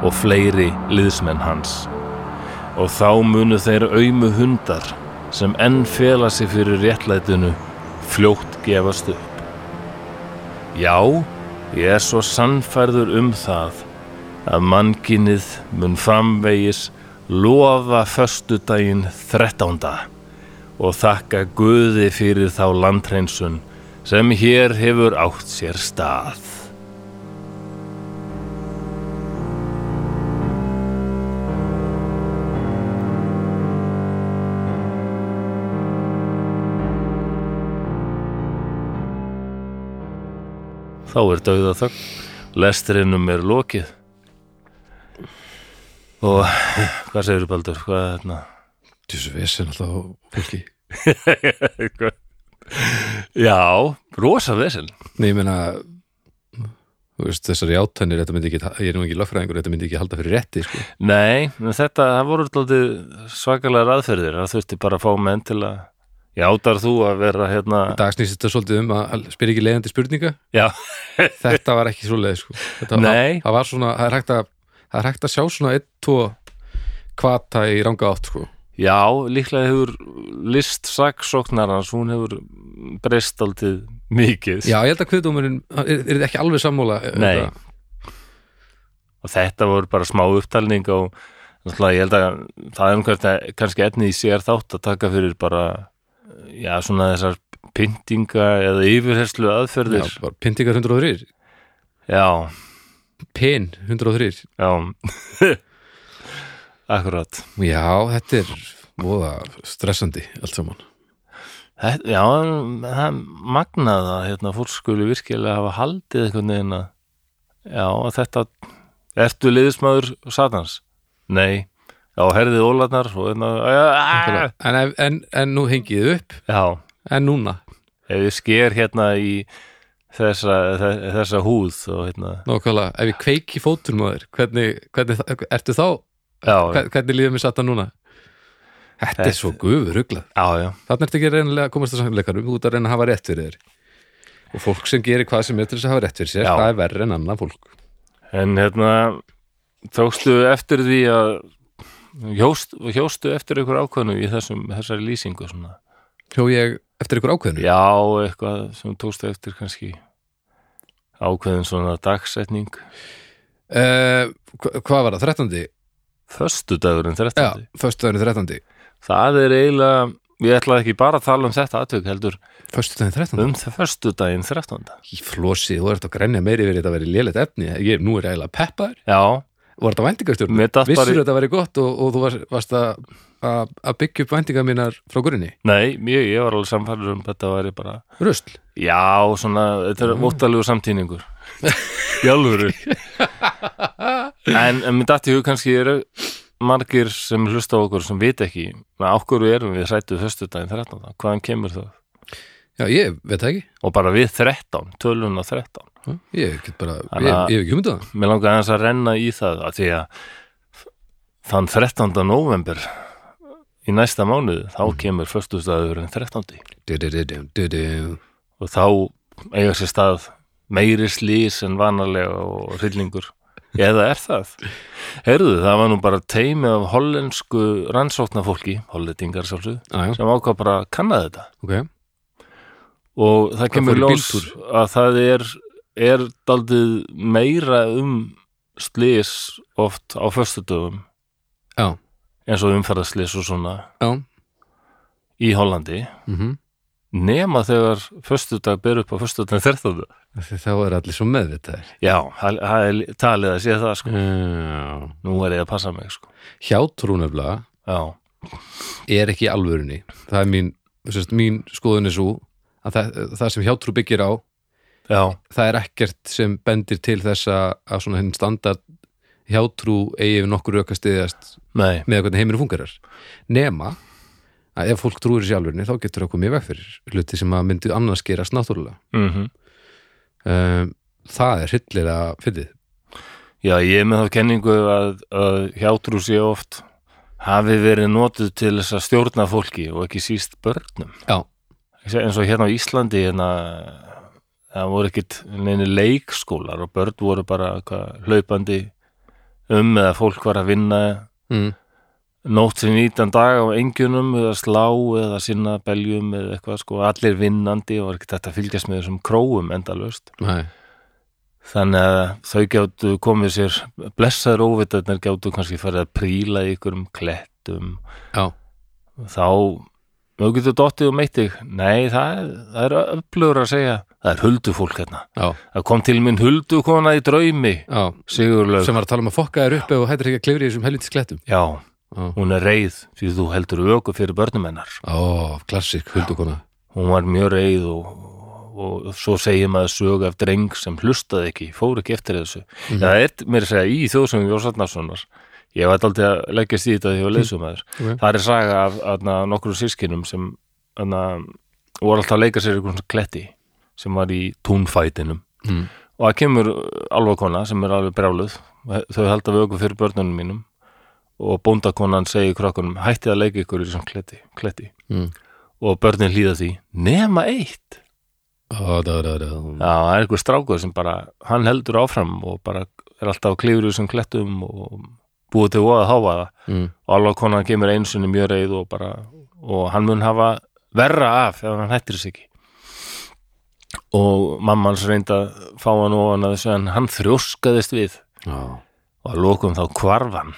S1: og fleiri liðsmenn hans. Og þá munu þeir aumu hundar sem enn fela sig fyrir réttlætinu fljótt gefast upp. Já, ég er svo sannfærður um það að mannkinnið mun framvegis lofa föstudaginn 13. og þakka Guði fyrir þá landhreinsun sem hér hefur átt sér stað. Þá er dauða þögn, lestrinum er lokið og hvað segir Baldur, hvað er hérna?
S2: Þessu vesen alltaf á fólki
S1: (laughs) Já, rosa vesel
S2: Nei, ég meina þú veist, þessar játtanir, þetta myndi ekki ég er nú ekki lögfræðingur, þetta myndi ekki halda fyrir rétti sko.
S1: Nei, en þetta, það voru alltaf svakalega raðferðir, það þurfti bara að fá menn til að Játar þú að vera hérna
S2: Í dag snýst þetta svolítið um að spyr ekki leiðandi spurninga
S1: Já,
S2: þetta var ekki svoleið sko. þetta,
S1: Nei.
S2: það, það var svona, það er hægt að það er hægt að sjá svona 1, 2 kvata í ranga átt sko.
S1: já líklega hefur list saksóknarans, hún hefur breyst alltaf mikið
S2: já, ég held að kviðdómurinn er, er þið ekki alveg sammála um
S1: Nei.
S2: það?
S1: og þetta voru bara smá upptalning og náttúrulega ég held að það er einhvern kannski efni í sér þátt að taka fyrir bara já svona þessar pyntinga eða yfirherslu
S2: já,
S1: aðferðir já,
S2: bara pyntingar 103
S1: já,
S2: pin 103
S1: (laughs) akkurat
S2: já, þetta er voða stressandi allt saman
S1: Þetta, já, en það er magnað að hérna, fólk skuli virkilega hafa haldið einhvern veginn að já, að þetta ertu liðismæður satans? Nei Já, herðið ólarnar og hérna aah,
S2: en, ef- en, en nú hengið þið upp
S1: Já,
S2: en núna,
S1: ef ég sker hérna í þessa, þe- þessa húð og hérna
S2: nákvæmlega, ef ég kveiki fótunum á þér hvernig, hvernig, þa- ertu þá
S1: já,
S2: Hver- hvernig líður mér satt að núna þetta er svo gufur huglað
S1: já, já,
S2: þannig ertu ekki að reyna að komast að samleikarum þú ert að reyna að hafa rétt fyrir þér og fólk sem gerir hvað sem er til þess að hafa rétt fyrir sér
S1: Já.
S2: það er verri en annað fólk
S1: en hérna tókstu eftir því að hjóst, hjóstu eftir einhver ákveðnu í þessum, þessari lýsingu svona,
S2: hjó ég eftir ykkur ákveðinu
S1: já, eitthvað sem tókstu eftir kannski ákveðin svona dagsetning
S2: uh, hvað var það, 13.
S1: Föstudagurinn
S2: já,
S1: 13.
S2: föstudagurinn 13.
S1: Það er eiginlega, ég ætla ekki bara að tala um þetta atvik heldur,
S2: föstudagurinn 13.
S1: um það föstudaginn 13.
S2: í flosi, þú ert að grænja meiri verið þetta verið lélegt efni, ég, nú er ég eiginlega peppar
S1: Já,
S2: var þetta væntingastjórn,
S1: mér datt
S2: vissur
S1: bara,
S2: þetta verið gott og, og þú varst, varst að, að að byggja upp væntingar mínar frá grunni,
S1: nei, ég, ég var alveg samfæður um þetta væri bara
S2: rusl
S1: Já, svona, þetta er mm. óttalegu samtíningur Jálfuru En en mér dætti hug kannski eru margir sem hlusta á okkur sem vita ekki með okkur við erum við hrættu föstudaginn 13. Hvaðan kemur það?
S2: já, ég veit það ekki
S1: Og bara við 13, tölun á 13
S2: Ég get bara, ég,
S1: Þannig
S2: ég
S1: að-
S2: hef ekki hugmyndað það
S1: Mér langaði aðeins að renna í það að því að þann 13. november í næsta mánuð þá kemur föstudagurinn 13.
S2: Du-du-du-du, du-du.
S1: og þá eiga sér stað meiri slís en vanalega og hryllingur eða er það? Heyrðu, það var nú bara teimi af hollensku rannsóknafólki, hollendingar sálsug,
S2: Á, já,
S1: sem ákvað bara að kanna þetta
S2: ok
S1: og það kemur
S2: fór í
S1: ljós að það er, er daldið meira um slís oft á föstudöfum
S2: Já.
S1: eins og umferðarslís og svona
S2: Já,
S1: í Hollandi
S2: mm
S1: nema þegar föstudag ber upp á föstudag 13.
S2: þá er allir svo meðvitaðir
S1: Já, það það er talið að sé það sko
S2: Já.
S1: nú er ég að passa mig sko.
S2: Hjátrú nefnilega
S1: já,
S2: er ekki í alvörunni Það er mín, sérst, mín skoðun er svo að það, það sem hjátrú byggir á
S1: já,
S2: það er ekkert sem bendir til þess að að svona hinn standard hjátrú eigi við nokkur rök að stiðast
S1: nei
S2: með hvernig heiminu fungerar nema að ef fólk trúir sér alvörunni þá getur það komið í veg fyrir hluti sem að myndi annars gerast náttúrulega
S1: mm
S2: um, það er hryllilega fyndið
S1: já, ég er með þá kenningu að, að hjátrú sé oft hafi verið notuð til þess að stjórna fólki og ekki síst börnum
S2: Já.
S1: eins og hérna á Íslandi hérna, það voru ekkit neini leikskólar og börn voru bara hva, hlaupandi um eða fólk var að vinna
S2: mm.
S1: nótt sem nýtan dag á engjunum eða slá eða sinna beljum eða eitthvað sko, allir vinnandi og var ekki þetta að fylgjast með þessum króum endalöst
S2: Nei,
S1: þannig að þau gjátu komið sér blessaður óvitarnir gjátu kannski farið að príla í ykkurum klettum
S2: já,
S1: þá þau getur dottið og meitt þig nei, það er, það er öflugur að segja það er huldufólk hérna
S2: já,
S1: það kom til mín huldukona í draumi
S2: já
S1: Sigurlaug,
S2: sem var að tala um að fokka þér upp ef þú hættir ekki að klifra í þessum helvitis klettum
S1: já,
S2: Já.
S1: hún er reið því þú heldur öku fyrir börnum hennar
S2: Ó, klassik, huldukona
S1: hún var mjög reið og, og svo segir maður sög af dreng sem hlustaði ekki, fór ekki eftir þessu
S2: Mhm.
S1: það er mér að segja í þjóðsöngum Jósarnarssonar ég var aldrei að leggjast í þetta því ég var leysumæður
S2: Mhm. Ok.
S1: það er saga af aðna, nokkru sískinum sem aðna, voru alltaf að leika sér einhvern svona kletti sem var í túnfætinum
S2: mm.
S1: og það kemur alvakona sem er alveg brjáluð þau held að vöku fyrir börnunum mínum og bóndakonan segir krökkunum hættið að leika ykkur í þessum kletti, kletti
S2: Mm.
S1: og börnin hlýða því nema eitt
S2: Ó, da, da, da.
S1: Já, það er einhver strákur sem bara, hann heldur áfram og bara er alltaf að klifur þessum klettum og búið til voða að háfa það
S2: Mm.
S1: og alveg konan kemur einu sinni mjög reið og bara, og hann mun hafa verra af ef hann hættir þess ekki og mamma hans reyndi að fá hann ofan að þessu en hann þrjóskaðist við
S2: Já,
S1: og að lokum þá hvarf hann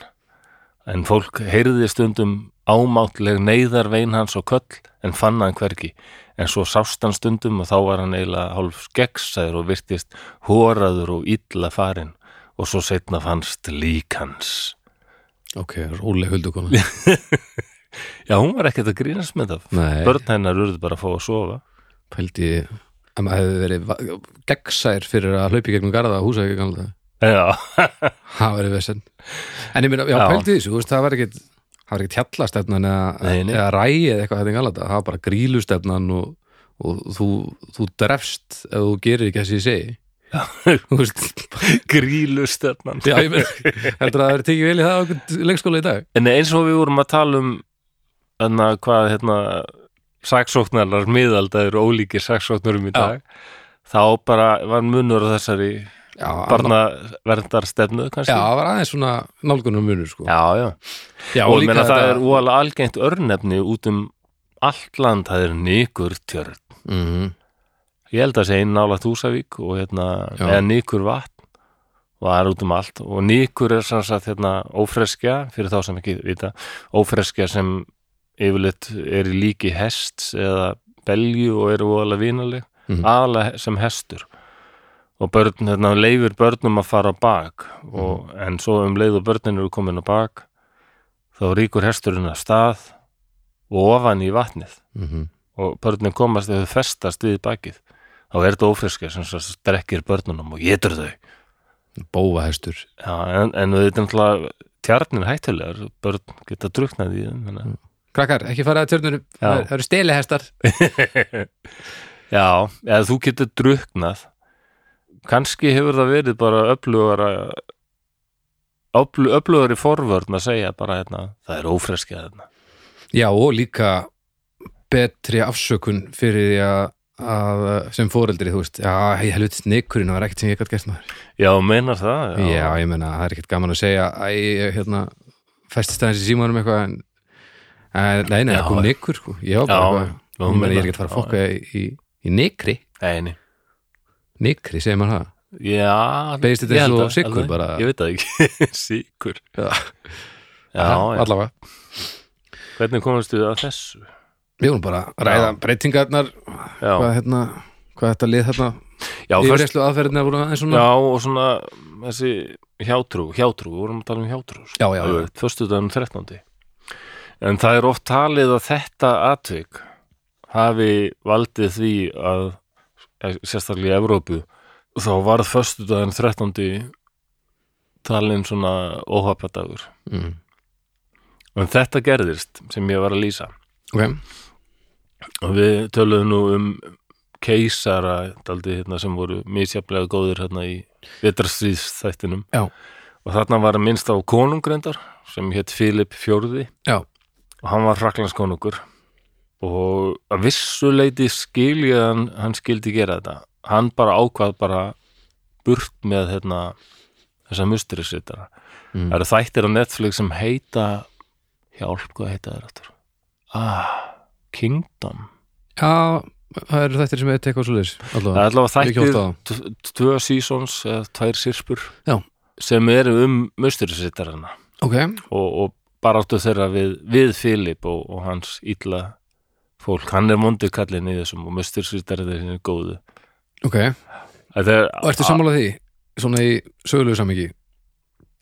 S1: en fólk heyrði stundum ámátleg neyðarvein hans og köll en fann hann hvergi en svo sást hann stundum og þá var hann eiginlega hálf skeggsæður og virtist hóraður og illa farinn og svo setna fannst lík hans
S2: ok, róleg huldukona
S1: Já, hún var ekkert að grínast með það
S2: Nei,
S1: Börn hennar urðu bara að fá að sofa
S2: pældi ég að maður hefði verið va- gegnsær fyrir að hlaupi gegnum garða á húsæki gamla
S1: Já, (laughs)
S2: Það verið vesend En ég meina, já,
S1: Já.
S2: pældi þessu, þú veist, það var ekkit það var ekkit hjallastefnan eða,
S1: Nei, nei.
S2: eða ræi eða eitthvað þetta galata, það var bara grílustefnan og, og þú, þú drefst ef þú gerir ekki það sem ég segi (laughs) Þú veist,
S1: grílustöfnan
S2: já, ég meina heldur að það verið tekið vel í það á einhvern leikskóla í dag
S1: En eins og við vorum að tala um enna hvað hérna saksóknarar miðaldaður ólíkir saksóknarum í
S2: Já.
S1: dag þá bara var munur á þessari
S2: Já, anna-
S1: barnaverndarstefnu
S2: já,
S1: kannski
S2: það var aðeins svona nálgunum munur, sko
S1: já, já.
S2: já
S1: og ég meina það
S2: þetta-
S1: er óalega algengt örnefni út um allt land það er nýkur tjörn
S2: Mhm.
S1: ég held að segja nálægt Húsavík og hérna,
S2: Já.
S1: eða nýkur vatn og það er út um allt og nýkur er sem sagt hérna ófreskja fyrir þá sem ekki vita, ófreskja sem yfirleitt er í líki hests eða belju og eru voðalega vinaleg,
S2: Mhm.
S1: aðalega sem hestur og börn, hérna, leifir börnum að fara á bak og,
S2: Mhm.
S1: en svo um leið og börnin eru komin á bak þá ríkur hesturinn að stað og ofan í vatnið
S2: Mhm.
S1: og börnin komast ef þau festast við bakið þá er þetta ófriska sem svo strekkir börnunum og getur þau
S2: Bófahestur
S1: Já, en, en þau er náttúrulega tjarnin hættulegar, börn geta druknað í þeim þannig.
S2: Mm.
S1: að-
S2: Krakkar, ekki fara að tjörnunum,
S1: Já.
S2: það eru stelihestar
S1: Já, eða þú getur druknað kannski hefur það verið bara öflugara öflu- öflugari forvörn að segja bara hérna, það er ófreskja hérna." þarna
S2: Já, og líka betri afsökun fyrir því að, að sem foreldri, þú veist, já, ég helviti snikurinn var ekkert sem ég gætt gert maður.
S1: Já, meinar það?
S2: Já, ég menna, það er ekkert gaman að segja æ, ég, hérna, festist aðeins í símanum eitthvað en, en nei, nei,
S1: Já.
S2: það kom nikur, sko. Já, bara
S1: Já,
S2: eitthvað.
S1: já,
S2: Ég menna,
S1: meina
S2: ég er ekkert fara að
S1: það,
S2: fokka í, í, í nikri,
S1: Nei, nei.
S2: nikri, segir maður það.
S1: Já,
S2: Beðist þetta
S1: ég
S2: eins
S1: held
S2: og
S1: að-
S2: sykur
S1: alveg.
S2: bara?
S1: Ég veit það ekki, (laughs) sykur
S2: Já.
S1: Já, já.
S2: allavega.
S1: Hvernig komast þið að þessu?
S2: Við vorum bara að ræða breytingarnar, hvað,
S1: Já,
S2: hérna, hvað þetta lið þarna,
S1: já, fyrst,
S2: yfirreyslu aðferðina voru aðeins svona.
S1: já og svona þessi hjátrú, hjátrú, við vorum að tala um hjátrú
S2: Já, já, já.
S1: Föstudagunum 13. um En það er oft talið að þetta atvik hafi valdið því að eh, sérstaklega í Evrópu þá varð föstudaginn 13. talin svona óhapadagur
S2: Mm.
S1: En þetta gerðist sem ég var að lýsa
S2: Ok,
S1: og við töluðum nú um keisara daldi, hérna, sem voru misjaflega góðir hérna í vetrastríðstættinum
S2: Já.
S1: og þarna var að minnst á konungrendar sem hétt Filip Fjórði
S2: já,
S1: og hann var hraklandskonungur og að vissuleiti skilja hann, hann skildi gera þetta hann bara ákvað bara burt með hérna, þessa musterisittara
S2: Mm.
S1: það eru þættir á Netflix sem heita Hjálp, hvað heita þér aftur? Ah, Kingdom
S2: Já, það eru þetta sem hefur tekið á svo leiðis
S1: Það er allavega
S2: Ekki
S1: þættir
S2: oft á.
S1: t- t- tvö seasons eða tvær sirpur
S2: Já.
S1: sem eru um musturisittarana
S2: Ok,
S1: og, og baráttu þeirra við, við Filip og, og hans illa fólk, hann er mondi kallinn í þessum og musturisittarinn er góðu
S2: ok
S1: Það er,
S2: Og ertu sammálað því? Svona í sögulegu samingi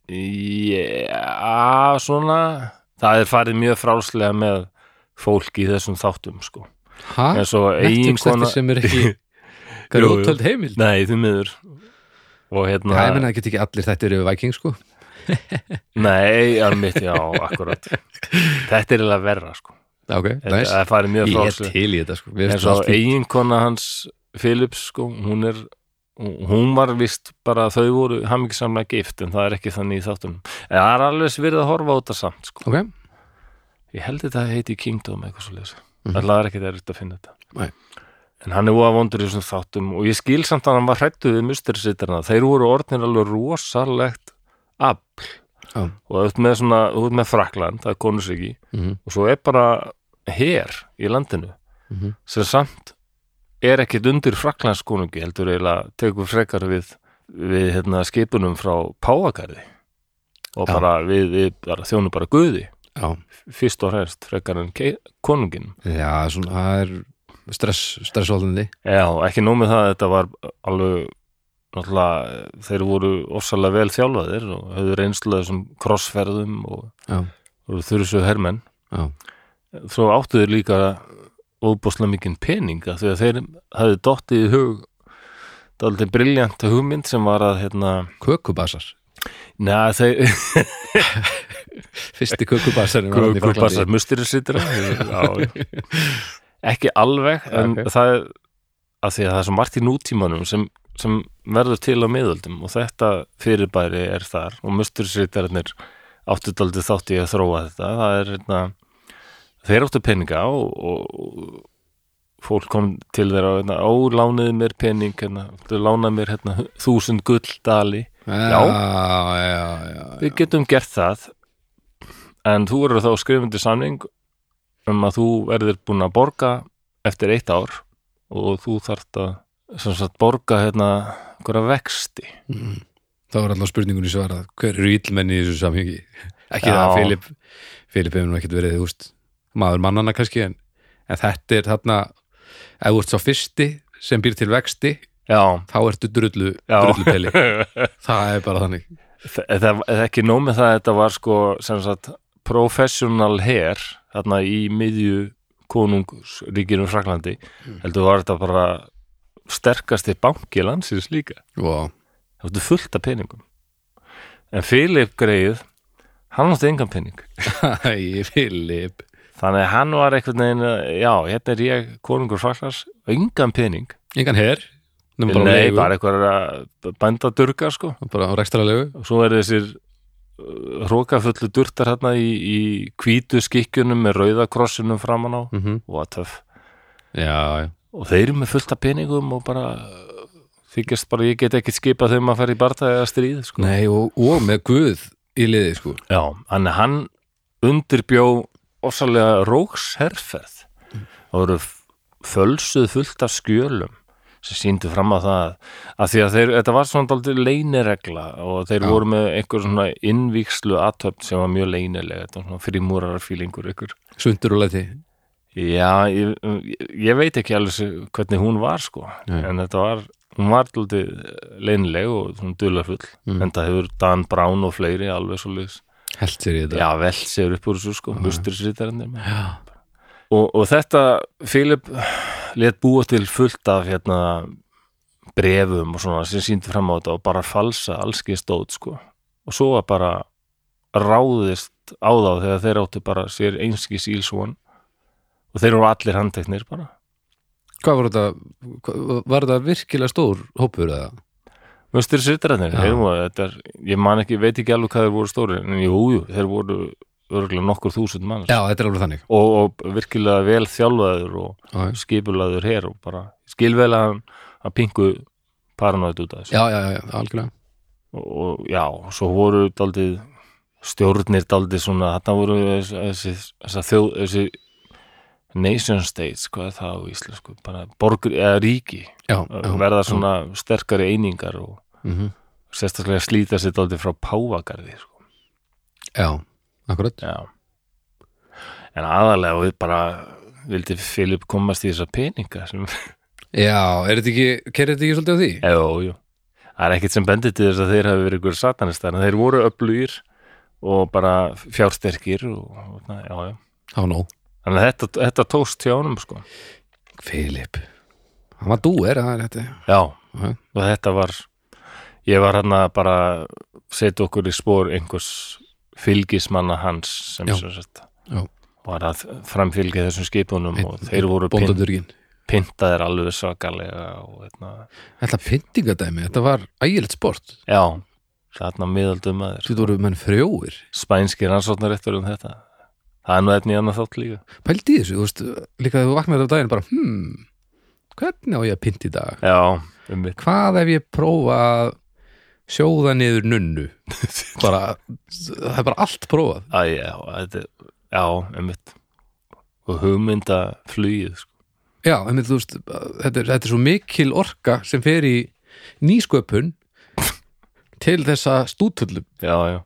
S1: Já, svona það er farið mjög frálslega með fólk í þessum þáttum sko.
S2: Ha?
S1: en svo eigin
S2: Netflix þetta
S1: kona
S2: sem er ekki
S1: (laughs)
S2: Hvað er
S1: Jú, jú.
S2: útöld heimild?
S1: Nei, því miður og
S2: Já, ég
S1: hérna,
S2: menna að get ekki allir þetta eru Viking sko
S1: nei, alveg mitt já, akkurat þetta er eiginlega verra, sko
S2: Já, ok,
S1: þetta
S2: næs
S1: það er farið mjög
S2: Ég er
S1: frálslega
S2: til í þetta sko Mér
S1: en
S2: finnst
S1: svo
S2: það allt fínt.
S1: eiginkona hans Philips, sko, hún er hún var vist bara að þau voru hamingisamlega gift, en það er ekki þannig í þáttunum en það er alveg verið að horfa á þetta samt, sko
S2: Ok,
S1: ég held þetta heiti Kingdom eitthvað svo lesa mm -hmm. það er ekki það erut að finna þetta
S2: Mhm. Nei.
S1: en hann er óa vondur í þessum þáttum og ég skil samt að hann var hrættu við musterisittarna þeir voru orðnir alveg rosalegt afl
S2: Já.
S1: og þú ert með svona, þú ert með Frakland það er konusriki
S2: Mhm.
S1: og svo er bara her í landinu
S2: Mhm.
S1: sem samt er ekkit undir Fraklandskonungi heldur eiginlega tekur frekar við, við hérna, skipunum frá Páakarði og
S2: Já.
S1: bara við, við bara, þjónum bara guði
S2: já
S1: fyrst og hræðst frekar en kei- konunginn
S2: Já, svona, það er stress, stressvaldandi
S1: Já, ekki nómið það að þetta var alveg náttúrulega þeir voru ofsalega vel þjálfaðir og höfðu reynslu af þessum krossferðum og
S2: Já,
S1: voru þurrisuð hermenn
S2: já,
S1: svo áttu þeir líka óbúslega mikinn peninga því að þeir hafði dottið í hug daldið briljant hugmynd sem var að hérna,
S2: kökubasar
S1: neða þeir
S2: Fyrsti kökubasar
S1: Guðbjörnbassar mustirisitra ekki alveg en
S2: Ok.
S1: það er að því að það er svo margt í nútímanum sem, sem verður til á miðöldum og þetta fyrirbæri er þar og mustirisitarinnir áttu daldið þátti að þróa þetta það er hérna þeir áttu peninga og, og fólk kom til þeirra og hérna, ó, lánaði mér pening hérna, þú lánaði mér hérna þúsund gull dali
S2: Já, já, já, já.
S1: við getum gert það en þú verður þá skrifundi samning um að þú verður búin að borga eftir eitt ár og þú þarft að sem sagt borga hérna hverja vexti
S2: þá er alltaf spurningunni svarað hver eru íllmenni í þessu samhengi (laughs) ekki
S1: Já.
S2: það að Filip Filip hefur nú ekkert verið úst, maður mannana kannski en, en þetta er þarna ef þú ert sá fyrsti sem býr til vexti
S1: já,
S2: þá ertu drullu,
S1: Já.
S2: drullupeli
S1: (laughs)
S2: það er bara þannig
S1: það er ekki nóg með það að þetta var sko sem sagt professional hair þarna í miðju konungsríkinu Fraklandi heldur var þetta bara sterkasti banki landsins líka
S2: wow.
S1: Það vartu fullt af peningum. En Filip greið, hann átti engan pening.
S2: Æ, Filip
S1: Þannig að hann var einhvern veginn, já, hérna er ég konungur fraklars, engan pening.
S2: engan her, nema bara á
S1: Nei,
S2: leigu
S1: bara einhverja bændadurga, sko.
S2: bara á rekstra leigu
S1: Og svo er þessir uh, hrókafullu durtar hérna í, í hvítu skikkjunum með rauðakrossinum framan á.
S2: mm
S1: What the f...
S2: já, já,
S1: Og þeir eru með fullt af peningum og bara uh, þykjast bara, ég get ekki skipað þeim að fara í barða eða stríð, sko.
S2: nei og, og með guð í liði sko
S1: Já, hann, hann undirbjó ofsalega róksherferð og voru f- fölsuð fullt af skjölum sem síndu fram að það að því að þeir, þetta var svona daldið leyniregla og þeir
S2: Já.
S1: voru með einhver svona innvíkslu aðtöfn sem var mjög leynilega þetta var svona frímúrarar fílingur ykkur
S2: sundur og leti
S1: Já, ég, ég- ég veit ekki alveg se- hvernig hún var sko
S2: Nei.
S1: en þetta var, hún var daldið leynileg og svona dularfull
S2: Mm.
S1: en það hefur Dan Brown og fleiri alveg svo liðs
S2: held sér í þetta
S1: Já, vel séur upp úr þessu sko, musturisritarinn og,
S2: já,
S1: og þetta, Filip let búa til fullt af hérna brefum og svona sem síndi fram á þetta og bara falsa allski stóð sko og svo var bara ráðist á þá þegar þeir áttu bara sér einski sílsvon og þeir eru allir handteknir bara
S2: hvað var þetta hvað- var þetta virkilega stór hópur eða?
S1: Möstur sittararnir,
S2: Já.
S1: þetta er, ég man ekki, veit ekki alveg hvað þeir voru stóri, en jú, jú, þeir voru örgulega nokkur þúsund manns
S2: Já, þetta er alveg þannig
S1: og, og virkilega vel þjálfaður og
S2: Já,
S1: skipulaður hér og bara skilvel að hann að pingu paranoid út af þessu
S2: já, já, já algjörlega
S1: og, og já, svo voru daldið stjórnir daldi svona, þarna voru þessi, þessi, þessi, þjóð, þessi nation states, hvað er það á íslensku bara borgur, eða ríki
S2: já,
S1: verða svona sterkari einingar og
S2: mm -hmm.
S1: sérstaklega slíta sér daldi frá páfagarði sko.
S2: já, akkurat
S1: Já. En aðalega við bara vildi Filip komast í þessa peninga sem,
S2: já, er þetta ekki, kerði þetta ekki svolítið á því?
S1: jú, jú. Það er ekkit sem bendir til þess að þeir hafi verið ykkur satanistar, en þeir voru öflugir og bara fjársterkir og, og na, já, já.
S2: já, nóg
S1: Þannig að þetta, þetta tóst hjá honum, sko.
S2: Filip hann var dúer, það er þetta
S1: Já,
S2: Já.
S1: Mhm. og þetta var, ég var hann að bara setja okkur í spór einhvers fylgismanna hans sem
S2: Já.
S1: sem sagt
S2: Já.
S1: var að framfylgja þessum skipunum og þeir voru pin-
S2: bóndadurgin
S1: pyntaðir alveg svakalega og hérna, veitna,
S2: Þetta pyntingadæmi, þetta var ægilegt sport
S1: já, þarna miðaldum maður,
S2: Þetta voru menn frjóir
S1: spænski rannsóknarettur um þetta það er nú einn í annað þátt líka
S2: Pældi í þessu, þú veist, líka þegar þú vaknaði á daginn bara, hmm, hvernig á ég að pynta í dag?
S1: já, um mitt
S2: Hvað ef ég prófa að sjóða niður nunnu? (laughs) bara, það er bara allt prófað
S1: Æ, já, þetta, er- já, um mitt og hugmynda flugið sko.
S2: Já, en þú veist, þetta er, þetta er svo mikil orka sem fer í nýsköpun til þessa stútullum
S1: já, já,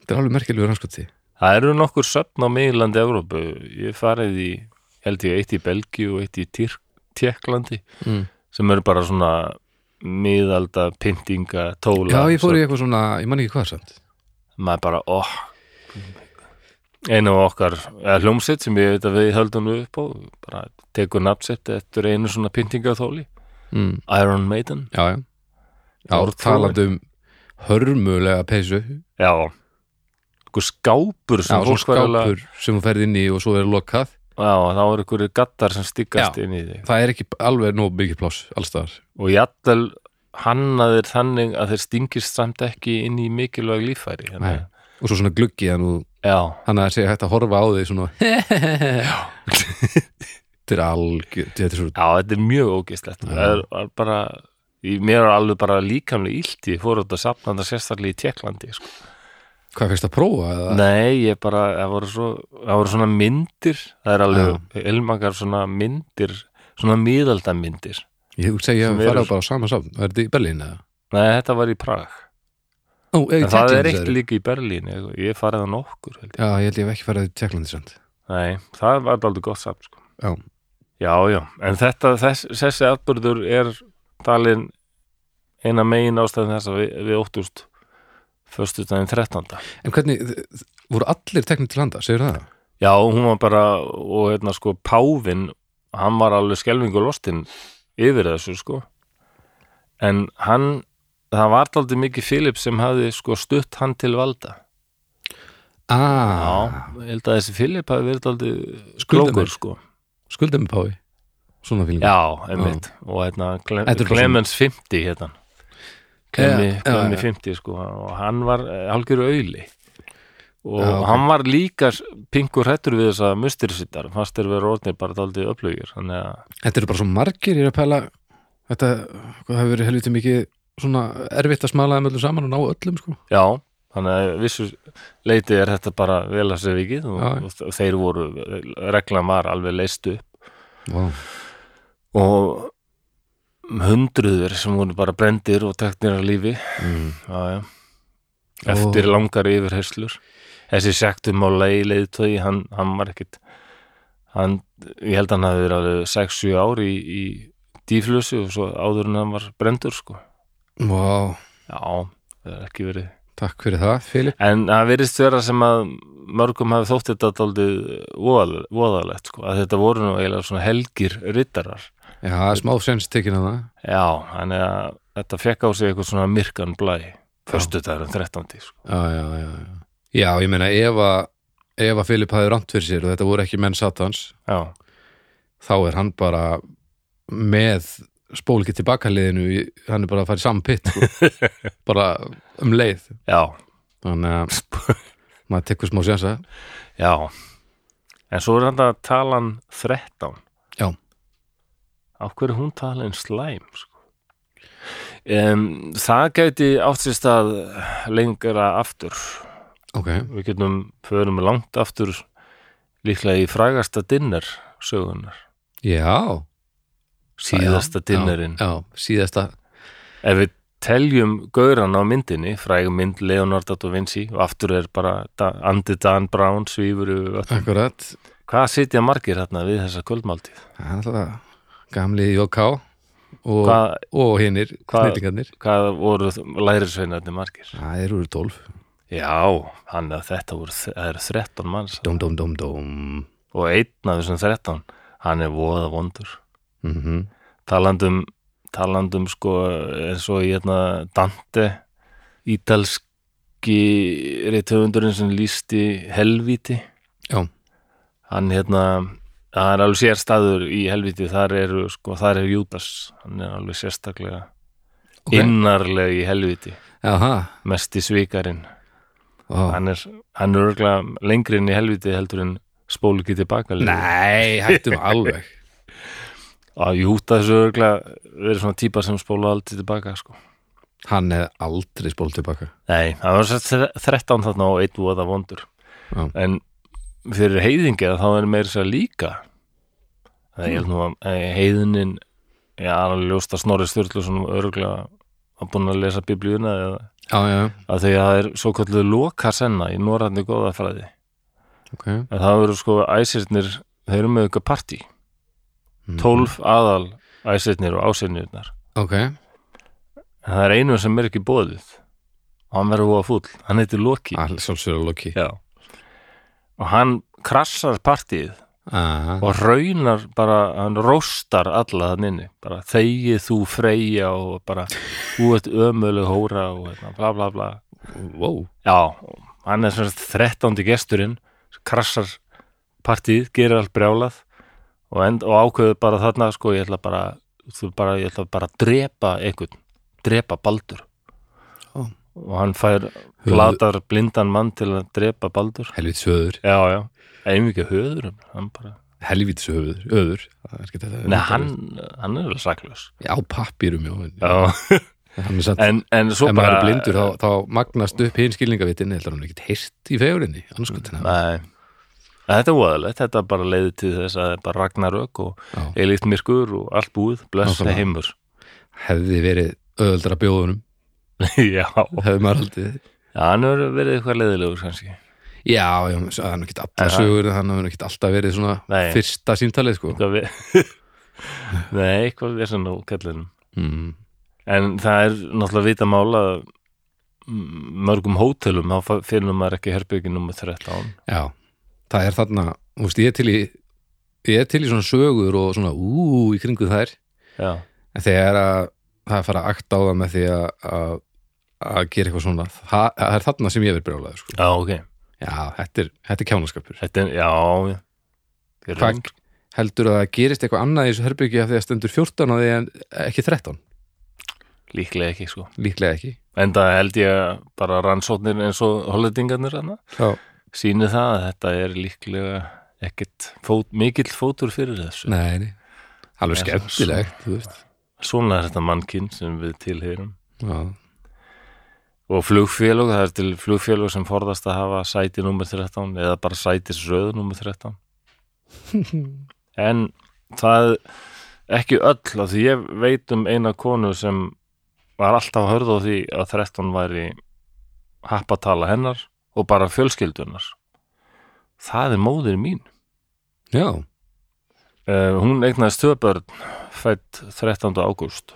S2: Þetta er alveg merkilegu rannskotsi
S1: það eru nokkur söfn á miðlandi Evrópu, ég hef farið í held ég eitt í Belgíu og eitt í Tyrk, Tjekklandi
S2: mm.
S1: sem eru bara svona miðalda pyntinga tóla
S2: Já, ég fór í eitthvað svona, ég man ekki hvað samt
S1: maður bara, óh einu af okkar eða hljómsett sem ég veit að við höldum nú upp á bara tekur nafnsett eftir einu svona pyntingaþóli
S2: mm.
S1: Iron Maiden,
S2: Já, já Já,
S1: Orð
S2: talandi um hörmulega peysu
S1: já einhver skápur
S2: Já,
S1: sem
S2: svo
S1: fólk var eiginlega-
S2: skápur sem þú ferð inn í og svo verður lokað
S1: já, þá er einhverju gattar sem stiggast
S2: Já.
S1: inn í þig
S2: Það er ekki alveg nóg mikið pláss allstaðar
S1: og jættal hannaðir þannig að þeir stingist samt ekki inn í mikilvæg líffæri þannig
S2: Nei. Og svo svona gluggi hann og
S1: að- já,
S2: hann að segja hægt að horfa á þig (laughs) svona (laughs) Þetta er algjör Þetta er svo
S1: já, þetta er mjög ógistlegt
S2: Já.
S1: það er, er bara í- mér er alveg bara líkamlega illt ég fór út að safna þetta sérstaklega í Tjekklandi sko.
S2: Hvað fyrst að prófa? Eða?
S1: Nei, ég bara, það voru, svo, það voru svona myndir, það er
S2: Já.
S1: alveg elmakar svona myndir, svona miðaldamyndir.
S2: Ég hugsa að ég
S1: Sem
S2: hef
S1: eru-
S2: farið bara á sama safn Er þetta í Berlín eða?
S1: Nei, þetta var í Prag.
S2: Ó, eða í
S1: En það er
S2: Tjekklandi
S1: eitt
S2: sagðirðu?
S1: líka í Berlín, ég, ég farið það nokkur. held ég.
S2: Já, ég held ég hef ekki farið í Tjekklandi samt
S1: Nei, það var bara aldrei gott samt, sko.
S2: Já.
S1: Já, já, en þetta, þess, þessi atbyrður er talin eina megin ástæðin þess að við, við óttust föstudaginn 13.
S2: En hvernig, þ- þ- voru allir teknir til handa, segir það?
S1: Já, hún var bara, og hérna sko, Pávin, hann var alveg skelfingu lostinn yfir þessu, sko. En hann, það var aldrei mikið Filip sem hafði sko stutt hann til valda.
S2: Ah,
S1: Já, ég held að þessi Filip hafi verið aldrei
S2: Skuldamur.
S1: klókur, sko.
S2: skuldum við pái Svona fílingu
S1: Já, einmitt. Og hérna, Cle
S2: Þetta er bara
S1: Clemens 50, hérna. Clemi,
S2: Já, já,
S1: Clemi
S2: já.
S1: 50, sko. Og hann var eh, algjör auðli. Og
S2: Já, ok.
S1: hann var líka pingur hrættur við þess að mustirisittar, fannst þeir vera orðnir bara daldið upplögir, þannig að
S2: Þetta eru bara svo margir, ég er að pæla Þetta hvað hefur verið helviti mikið svona erfitt að smala þeim öllum saman og ná öllum sko.
S1: Já, þannig að vissu leiti er þetta bara vel að segja vikið
S2: Já.
S1: og, og þeir voru, reglan var alveg leist upp
S2: wow.
S1: og hundruður sem voru bara brendir og teknir af lífi
S2: mm.
S1: já, já. eftir langar yfirherslur þessi sektum á lei leiðtögi hann, hann var ekkit hann, ég held að hann hafi verið alveg 6-7 ár í, í dýflössu og svo áður en hann var brendur sko.
S2: wow.
S1: já, það er ekki verið
S2: Takk fyrir það, Filip
S1: En það virðist vera sem að mörgum hafi þótt þetta daldið voðalegt, sko, að þetta voru nú eiginlega svona helgir rittarar.
S2: Já, smá sens tekin að það
S1: Já, þannig að þetta fekk á sig eitthvað svona myrkan blæ, föstudagurinn 13. Sko.
S2: Já, já, já, já. já ég meina ef að ef að Filip hafi rant fyrir sér og þetta voru ekki menn satans
S1: Já,
S2: þá er hann bara með spólki tilbaka liðinu í- hann er bara að fara í sampitt
S1: (laughs)
S2: sko. bara um leið
S1: já,
S2: þannig að maður tekur smá sensa
S1: já. En svo er þetta talan 13.
S2: Já.
S1: Á hverju er hún talin slæm, sko? Um, það gæti átt sér stað lengra aftur
S2: ok,
S1: við getum, förum langt aftur líklega í frægasta dinner sögunar,
S2: já
S1: síðasta dinnerinn
S2: já, já, síðasta,
S1: ef við teljum gauran á myndinni, fræg mynd Leonardo da Vinci og aftur er bara da, Andy Dan Brown svífur yfir vötn.
S2: akkurat
S1: hvað sitja margir hérna við þessa kvöldmáltíð
S2: það er alltaf gamli Jóká og,
S1: hvað,
S2: og hinnir
S1: Hvað-
S2: snillingarnir
S1: hvað voru lærisveinarnir margir
S2: það eru úr tólf
S1: já, hann að þetta voru, það eru 13 manns
S2: dum dum dum dum
S1: og einn af þessum 13 hann er voða vondur
S2: mm
S1: talandum talandum um, sko eins og í hérna Dante ítalski reytöfundurinn sem lísti helvíti
S2: Já.
S1: hann hérna það er alveg sérstæður í helvíti þar eru sko, þar er Júdas hann er alveg sérstaklega
S2: Ok.
S1: innarlega í helvíti
S2: aha,
S1: mesti svikarinn
S2: ó
S1: hann er, hann er örgulega lengri inn í helvíti heldur en spólu ekki tilbaka
S2: nei, hættum alveg
S1: að Júdas er örgulega verið svona típa sem spóla aldrei tilbaka sko
S2: (laughs) hann hefði aldrei spólt tilbaka
S1: Nei, það var sett þre- 13 þarna og einn voða vondur
S2: Já.
S1: en fyrir heiðingja þá er meira sér líka það er ég held nú að eh, heiðinin já, alveg ljóst að Snorri Sturluson örgulega að búin að lesa biblíuna eða
S2: já, já, já,
S1: að því að það er svo kalluð lokasenna í norrænni góðafræði
S2: ok
S1: en það eru sko æsirnir þeir eru með ykkur partí
S2: Mhm.
S1: 12 aðal æsirnir og ásirnirnar
S2: ok,
S1: en það er einu sem er ekki bóðið og hann verður voða fúll, hann heitir Loki
S2: alls alveg Ah, loki
S1: Já. Og hann krassar partíið
S2: aha,
S1: og raunar bara, hann róstar alla þann inni, bara þegið þú freyja og bara út ömuleg hóra og hérna, bla bla bla.
S2: wow
S1: Já, hann er svona þrettándi gesturinn, krassar partíið, gerir allt brjálað og, end, og ákveður bara þarna, sko, ég ætla bara, þú bara, ég ætla bara að drepa einhvern, drepa Baldur.
S2: Ó.
S1: Og hann fær, latar blindan mann til að drepa Baldur.
S2: helvits höður,
S1: Já, já, einvikið höður hann bara,
S2: helvits höður höður, það er ekki þetta
S1: nei, hann, hann er vel saklaus
S2: já, pappirum, já, en-
S1: Já,
S2: hann er satt
S1: en, en svo
S2: ef maður
S1: bara
S2: er blindur þá, þá magnast upp hinn skilningavitin heldur hann er ekkert heyrt í fegurinni annars gott hann
S1: Nei, En þetta er voðalegt, þetta bara leiði til þess að bara Ragnarök og
S2: Já.
S1: Elíkt Myrkur og allt búið, blessa
S2: Nákvæmlega.
S1: heimur
S2: hefði verið öðuldra bjóðunum
S1: Já,
S2: hefði maður aldrei
S1: Já, hann er verið eitthvað leiðilegur kannski
S2: já, já, svo- hann er ekkert
S1: En
S2: allar
S1: það-
S2: sögur hann hefur ekkert alltaf verið svona
S1: Nei.
S2: fyrsta símtalið sko
S1: Eitthvað við... (laughs) Nei, eitthvað er svona úr kallinum
S2: mm.
S1: En það er náttúrulega vita mála að mörgum hótelum, þá fa- finnur maður ekki herbyggi nummer 13
S2: já, það er þarna þú veist, ég er til í ég er til í svona sögur og svona ú í kringu þær
S1: Já,
S2: en þegar að það er að fara að akta á það með því að að- að gera eitthvað svona það, það er þarna sem ég verið brjólaður sko
S1: já ok
S2: já, þetta er, þetta er kjánaskapur
S1: Þetta er, já, já. Ég er
S2: Hvað-
S1: röng.
S2: heldur að það gerist eitthvað annað í þessu herbyggja af því að stendur 14 og því en ekki 13
S1: Líklega ekki, sko.
S2: líklega ekki
S1: En það held ég að bara rannsóknir eins og hollendingarnir hana,
S2: Já.
S1: síni það að þetta er líklega ekkit fót, mikill fótur fyrir þessu.
S2: nei, nei. alveg
S1: Já,
S2: skemmtilegt þú veist
S1: Svona er þetta mannkinn sem við tilheyrum.
S2: já, (laughs)
S1: Og flugfélög, það er til flugfélög sem forðast að hafa sæti nummer 13 eða bara sætisröð nummer 13. en það ekki öll, af því ég veit um eina konu sem var alltaf að hörða á því að 13 væri happatala hennar og bara fjölskyldunar. Það er móðir mín.
S2: já,
S1: Uh, hún eignaðist tvö börn, fætt 13. ágúst,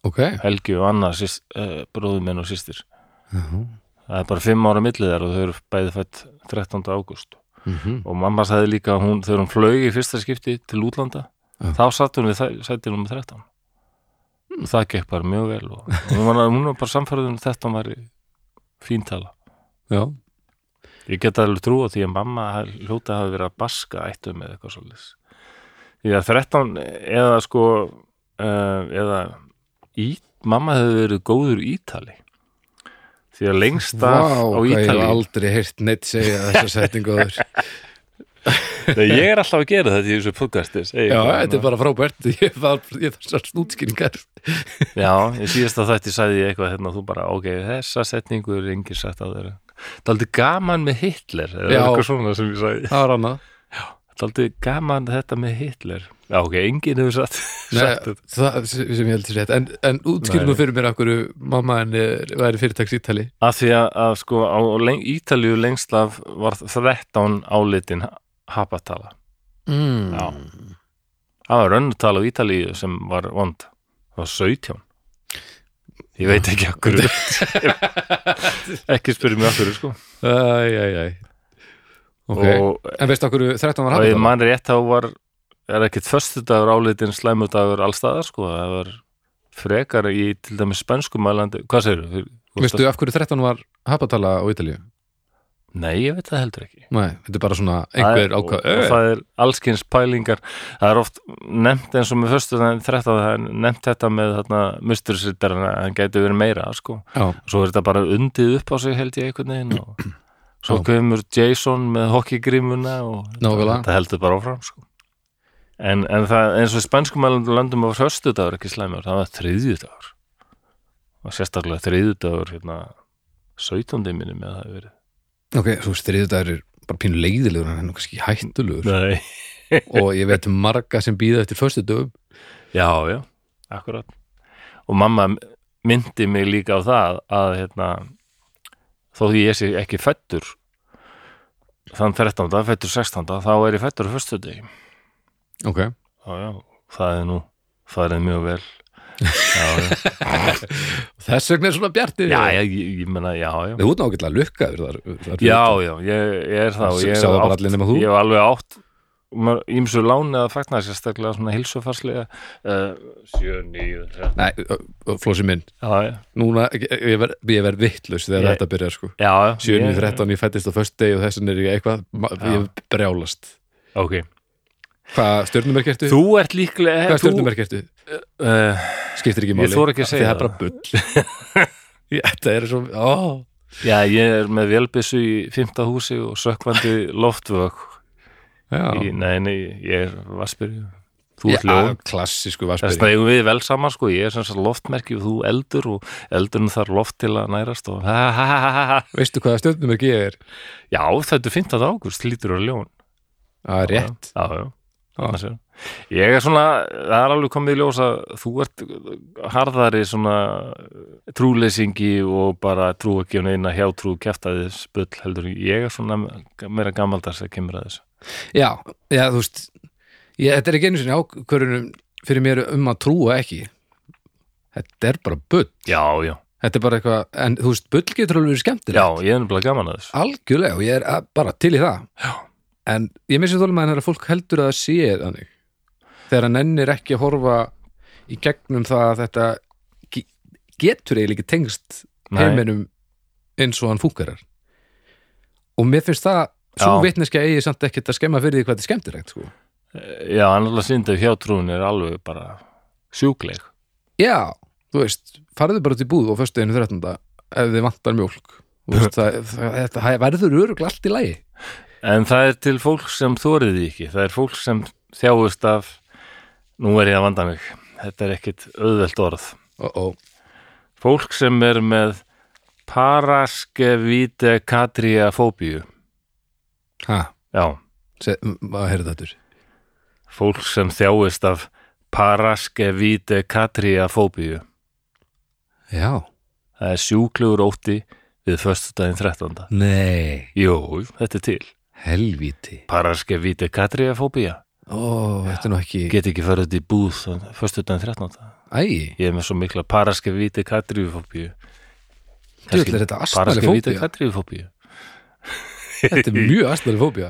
S2: ok
S1: Helgi og Anna, sýst, uh, bróður minn og sýstir.
S2: já.
S1: Það er bara fimm ára millið þar og þau eru bæði fætt 13. ágúst.
S2: mhm,
S1: Og mamma sagði líka að hún, þegar hún flög í fyrsta skipti til útlanda,
S2: Já.
S1: þá satt hún við þæ- sæti nummer 13. Og það gekk bara mjög vel og hún var, hún var bara samfærðun að þetta var fíntala.
S2: já,
S1: Ég get alveg trú á því að mamma hafi- hljóta hafi verið að baska ættu með eitthvað svolítið. Því að 13 eða sko uh, eða í, mamma hefði verið góður ítali. Því að lengst af
S2: Vá,
S1: á
S2: hvað ég hef
S1: ítali.
S2: aldrei heyrt neitt segja þessa setningu (laughs) áður já,
S1: Nei, ég er alltaf að gera þetta í þessu podcasti. segi ég
S2: þetta er bara frábært (laughs) ég var- ég þarf svo snútskýringar
S1: Já, í síðasta þætti sagði ég eitthvað hérna og þú bara, ok, þessa setningu er engin sagt á þeirra. Daldi gaman með Hitler eða
S2: Já.
S1: eitthvað svona sem ég sagði
S2: það var annað
S1: Daldi gaman þetta með Hitler Já, ok, enginn hefur satt,
S2: Nei,
S1: satt þetta
S2: það sem sem ég heldur sér rétt en, en útskýrðu
S1: Nei.
S2: nú fyrir mér af hverju mamma henni væri fyrirtaks ítali
S1: Af því að, að sko á leng, Ítalíu lengst af var 13 álitin hapatala
S2: mm.
S1: Já. Það var önnutala á Ítalíu sem var vond Það var 17 Ég veit ekki okkur
S2: (laughs)
S1: Ekki spyrir mig okkur sko.
S2: Æj, æj, æj Ok,
S1: og,
S2: en veistu okkur 13 var
S1: og ég
S2: hafðið
S1: man rétt þá var er ekkert föstudagur álitin slæmudagur allstaðar sko, það var frekar í til dæmis spænskumælandi Hvað segirðu?
S2: Veistu af hverju 13 var hapatala á Ítalíu?
S1: Nei, ég veit það heldur ekki
S2: Nei, þetta er bara svona einhver
S1: Það er-
S2: ákvað
S1: og, og
S2: Ö,
S1: það er allskins pælingar það er oft nefnt eins og með fyrstu þannig 13 það er nefnt þetta með þarna mustursitarinn að hann gæti verið meira sko.
S2: Já,
S1: svo er þetta bara undið upp á sig held ég einhvern veginn
S2: (clears throat)
S1: og svo
S2: Já.
S1: kemur Jason með hokkigrímuna og
S2: Nákvæmlega.
S1: þetta heldur bara áfram sko. en, en það eins og spænskumælundu landum á höstudagur ekki slæmur, það var þriðjudagur og sérstaklega þriðjudagur hérna 17. minni með það hefur verið
S2: ok, þú veist, þriðdagur er bara pínu leiðilegur en hann er nú kannski
S1: (laughs)
S2: hættulegur
S1: Nei.
S2: og ég veit um marga sem býða eftir föstu dögum
S1: Já, já, akkurat og mamma myndi mig líka á það að hérna þó því ég sé ekki fættur þann 13. fættur 16. þá er ég fættur á fyrstu degi
S2: Ok,
S1: já, já, það er nú það er mjög vel já,
S2: (laughs)
S1: já,
S2: þess vegna er svona bjartir
S1: já, já, ég, ég meina, já, já
S2: Þú ert nákvæmlega lukkaður þar, þar
S1: já, já, ég, ég er það og
S2: S-
S1: ég hef
S2: sá það bara
S1: átt-
S2: allir nema þú?
S1: ég hef alveg átt maður- ýmsu láni að fagna sérstaklega svona hilsufarslega uh, 7, 9, 13
S2: Nei, ö, ö, Flósi minn,
S1: já, já,
S2: núna ég ég verð ég verð vitlaus þegar
S1: Ég-
S2: þetta byrjar sko
S1: já, já
S2: 7.
S1: ég-
S2: 13. ég fættist á föstu degi og þessan er ég eitthvað, ma- ég brjálast
S1: ok,
S2: Hvað stjörnumerk ertu?
S1: Þú ert líklega
S2: Hvað
S1: þú-
S2: stjörnumerk ertu?
S1: Uh,
S2: Skiptir ekki
S1: Ég
S2: máli
S1: þori ekki að
S2: Því
S1: segja
S2: Það er bara bull (laughs) Ég- Þetta er svo, ó
S1: Já, ég er með vélbissu í fymta húsi og sökkvandi loftvök í,
S2: Já,
S1: Nei, nei, ég er vassbyrju Þú
S2: já
S1: ert ljón
S2: klassísku
S1: Þess vegna
S2: vassbyrði
S1: eigum við vel saman sko, ég er sem sagt loftmerki og þú eldur og eldurinn þarf loft til að nærast og (laughs) ha ha ha ha ha
S2: Veistu hvaða stjörnumerk ég er?
S1: Já, þetta er 15. águst, lítur á ljón
S2: Það er rétt
S1: Já, já, þannig sér Ég er svona, það er alveg komið í ljós að þú ert harðari svona trúleysingi og bara trú ekki og neina hjá trú kjæftaði spull heldur en ég er svona meira gamaldars að kemur að þessu
S2: Já, já, þú veist ég, Þetta er ekki einu sinni ákvörunum fyrir mér um að trúa ekki Þetta er bara bull
S1: Já, já,
S2: Þetta er bara eitthvað, en þú veist, bull getur alveg verið skemmtileg
S1: já, ég er nefnilega gaman að þessu
S2: Algjörlega, og ég er að- bara til í það Já. En ég missi þólum að þegar fólk heldur að það sé þannig Þegar hann ennir ekki að horfa í gegnum það að þetta ge- getur eiginlega ekki tengst
S1: Nei.
S2: heiminum eins og hann fúkarar Og mér finnst það svo
S1: Já.
S2: vitneska eigi samt ekkert að skemma fyrir því hvað þetta er skemmtilegt sko.
S1: Já, annarlega syndið hjá trúin er alveg bara sjúkleg
S2: Já, þú veist, farðu bara út í búð og föstu einu 13. ef þið vantar mjólk Þú veist, (laughs) það, það, þetta það verður öruglega allt í lagi
S1: En það er til fólk sem þóriði ekki, það er fólk sem þjáist af Nú er ég að vanda mig, þetta er ekkit auðvelt orð
S2: uh -oh.
S1: fólk sem er með paraskevite katriafóbíu
S2: Ha,
S1: já,
S2: se, maður heyrði þetta
S1: fólk sem þjáist af paraskevite katriafóbíu
S2: Já,
S1: það er sjúklegur ótti við föstudaginn 13.
S2: nei,
S1: Jú, þetta er til
S2: helvíti
S1: paraskevite katriafóbía
S2: Ó, þetta er nú ekki
S1: get ekki farið út í búð föstudaginn 13.
S2: Æ,
S1: ég er með svo mikla paraskevite katriafóbíu
S2: djöfull er þetta astnari
S1: paraskevite
S2: fóbía
S1: katriafóbíu
S2: Þetta er mjög astnari fóbía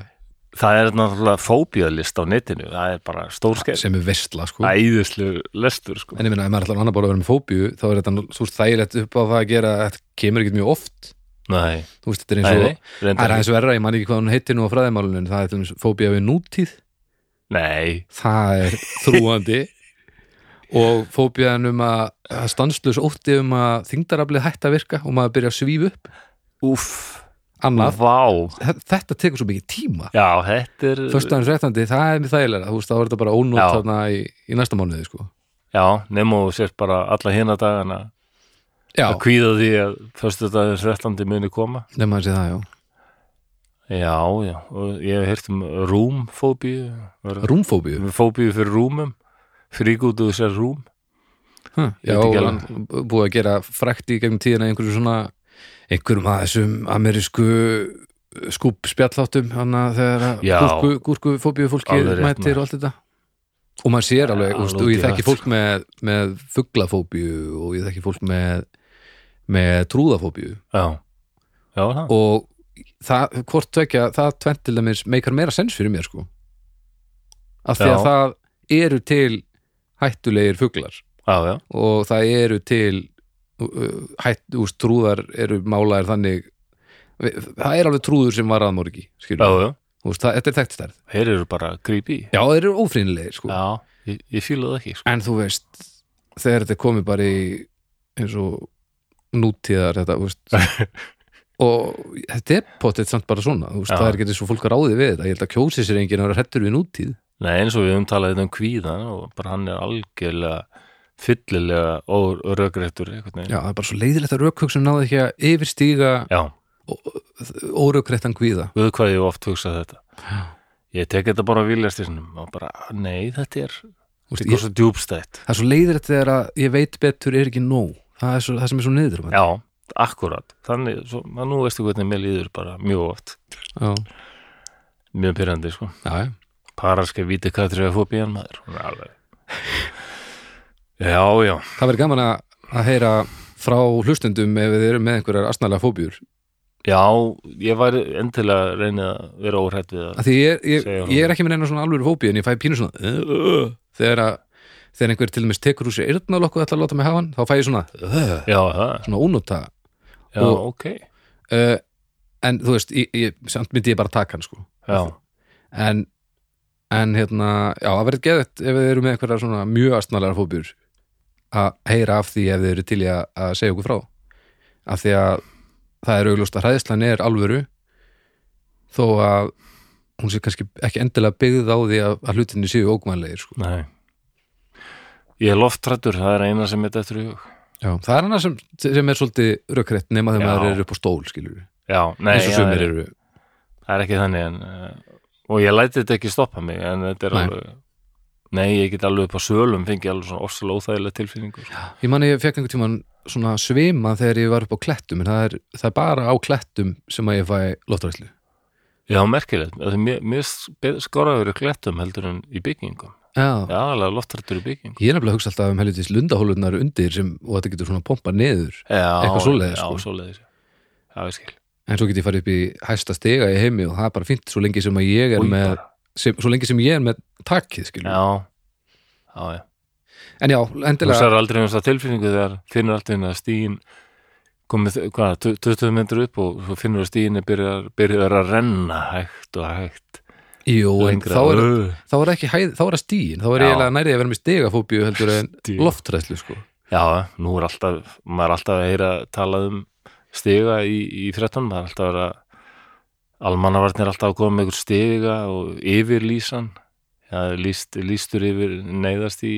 S1: það er náttúrulega fóbíalist á netinu það er bara stórskeið
S2: sem er veistla, sko
S1: æðislu lestur sko.
S2: En ég minna, ef maður ætlar annað bara að vera með fóbíu þá er þetta nú svo þægilegt upp á það að gera að þetta kemur ekkert mjög oft
S1: Nei,
S2: Þú veist, þetta er
S1: nei,
S2: eins
S1: nei,
S2: og Það
S1: reyndar
S2: er
S1: ekki.
S2: aðeins verra, ég man ekki hvað hún heitir nú á fræðimálunum en það er til dæmis fóbía við nútíð
S1: nei,
S2: það er þrúandi og fóbíðan um að að stanslös ótti um að þingdaraflið hætt að virka og maður byrja að svífa upp
S1: úff,
S2: annað,
S1: vá
S2: þetta tekur svo mikið tíma
S1: Já, þetta er
S2: Föstaðan 13. það er mér þægilega þú veist, þá er þetta bara ónótt
S1: Já.
S2: þarna í, í næsta mánuði sko.
S1: Já, nema og sér bara alla hina dagana
S2: já,
S1: að kvíða því að fyrstu dagur 13. muni koma
S2: nefnum að sé það, já
S1: já, já, og ég hef heyrt um rúmfóbíu
S2: Rúmfóbíu,
S1: fóbíu fyrir rúmum frík út úr sér rúm
S2: já,
S1: veit ekki
S2: og
S1: alveg.
S2: búið að gera frækt í gegnum tíðina einhverju svona einhverjum að þessum amerísku skúb spjalláttum hann að þegar að
S1: Já.
S2: gúrku, gúrkufóbíu fólki
S1: Alveg rétt,
S2: mætir
S1: maður.
S2: og allt þetta og maður sér alveg,
S1: alveg
S2: ja, og ég
S1: út í
S2: þekki
S1: hött.
S2: fólk með, með fuglafóbíu og ég þekki fólk með með trúðafóbíu
S1: já, já, það
S2: og það, hvort tvekja, það tvent til dæmis meikar meira sens fyrir mér sko af því
S1: Já.
S2: að það eru til hættulegir fuglar
S1: já, já,
S2: og það eru til uh, hætt, úr trúðar eru málaðir þannig það er alveg trúður sem var aðmorgi
S1: já,
S2: skilur,
S1: já,
S2: Úst, það, þetta er þekkt stærð
S1: þeir eru bara creepy
S2: já, þeir eru ófrýnilegir sko
S1: já, ég, ég fíla það ekki sko.
S2: en þú veist, þegar þetta er komið bara í eins og nútíðar þetta, þú veist
S1: (laughs)
S2: og þetta er potið samt bara svona þú veist,
S1: Já.
S2: það er ekki eins og fólk ráði við þetta ég held að kjósi sér enginn að vera hrettur við nútíð
S1: nei, eins og við höfum talað hérna um kvíðan og bara hann er algjörlega fyllilega og rökreittur einhvern veginn
S2: já, það er bara svo leiðilegt að rökhug sem náði ekki að yfirstíga
S1: já,
S2: órökréttan kvíða
S1: við hvað ég hef oft hugsað þetta ég tek þetta bara að viljast þessum og bara, nei, þetta er
S2: Þú veist,
S1: þetta er
S2: ég,
S1: svo djúbstætt
S2: það er svo leiðilegt þegar að ég veit betur er ekki nóg það er svo, það sem er svo niður um
S1: já, akkurat þannig, svo, að nú veistu hvernig mér líður bara mjög oft,
S2: já,
S1: mjög pyrrandi sko.
S2: já, já.
S1: paraska víti katriðafóbían maður hún er alveg já, já,
S2: það verður gaman að, að heyra frá hlustendum ef þið eru með einhverjar asnalega fóbjur
S1: já ég væri endilega að reyna að vera óhrætt við það
S2: að því ég, ég,
S1: Segir hún.
S2: ég er ekki með neina svona alvöru fóbi en ég fæ pínu svona "Ugh", þegar, að, þegar einhver til dæmis tekur úr sér eyrnalokku og ætlar að láta mig hafa hann, þá fæ ég svona "Ugh",
S1: já, það,
S2: svona ónóta
S1: já,
S2: Og-
S1: ok
S2: uh, en þú veist, ég, ég, samt myndi ég bara taka hann sko
S1: já,
S2: en, en hérna já, það verður geðett ef þið eru með einhverjar svona mjög astnalega fóbjur að heyra af því ef þið eru til í að, að segja okkur frá af því að það er augljóst að hræðislan er alvöru þó að hún sé kannski ekki endilega byggð á því að, að hlutinni séu ógmænlegir sko.
S1: nei ég er loftrættur, það er eina sem mitt eftir í hug
S2: Já, það er hana sem, sem er svolítið rökkrett nema þegar
S1: Já.
S2: maður er upp á stól skilur
S1: já, nei,
S2: eins og
S1: já,
S2: sumir
S1: það er-
S2: eru
S1: það er ekki þannig en, uh, og ég læti þetta ekki stoppa mig en þetta er
S2: Nei.
S1: alveg nei, ég get alveg upp á sölum fengi alveg svona ofsalega óþægilega tilfinningu sko.
S2: Ég man að ég fekk einhvern tímann svona svima þegar ég var upp á klettum en það er, það er bara á klettum sem að ég fæ loftræslu
S1: já, merkilegt, af því mér, mér spe- skoraður í klettum heldur en í byggingum
S2: Já,
S1: já, alveg loftrættur í byggingum
S2: ég er nefnilega að hugsa alltaf um helvitis lundahólunar undir sem, og þetta getur svona pompa niður
S1: já,
S2: Eitthvað svoleiðis,
S1: já,
S2: sko.
S1: svoleiðis já, ég skil
S2: en svo get ég farið upp í hæsta stiga í heimi og það er bara fínt svo lengi sem að ég er
S1: Új,
S2: með
S1: bara.
S2: sem, svo lengi sem ég er með takkið skilur
S1: já, já, já
S2: en já,
S1: þú
S2: endilega
S1: sér aldrei um þess tilfinningu þegar finnur allt inn að stíin komið, hvað, tu- 20 myndur upp og svo finnur að stíinni byrjar, byrjar að renna hægt og hægt
S2: jú, en
S1: lengra
S2: þá er,
S1: Ugh.
S2: þá er ekki hæð, þá er að stíin þá er
S1: Já.
S2: eiginlega nærið að vera með stigafóbíu heldur en
S1: Stig.
S2: loftræslu
S1: (laughs)
S2: sko
S1: Já, nú er alltaf, maður er alltaf að heyra talað um stiga í, í fréttunum, það er alltaf að vera almannavarnir er alltaf að koma með ykkur stiga og yfirlýsan já, líst, lístur yfir neyðast í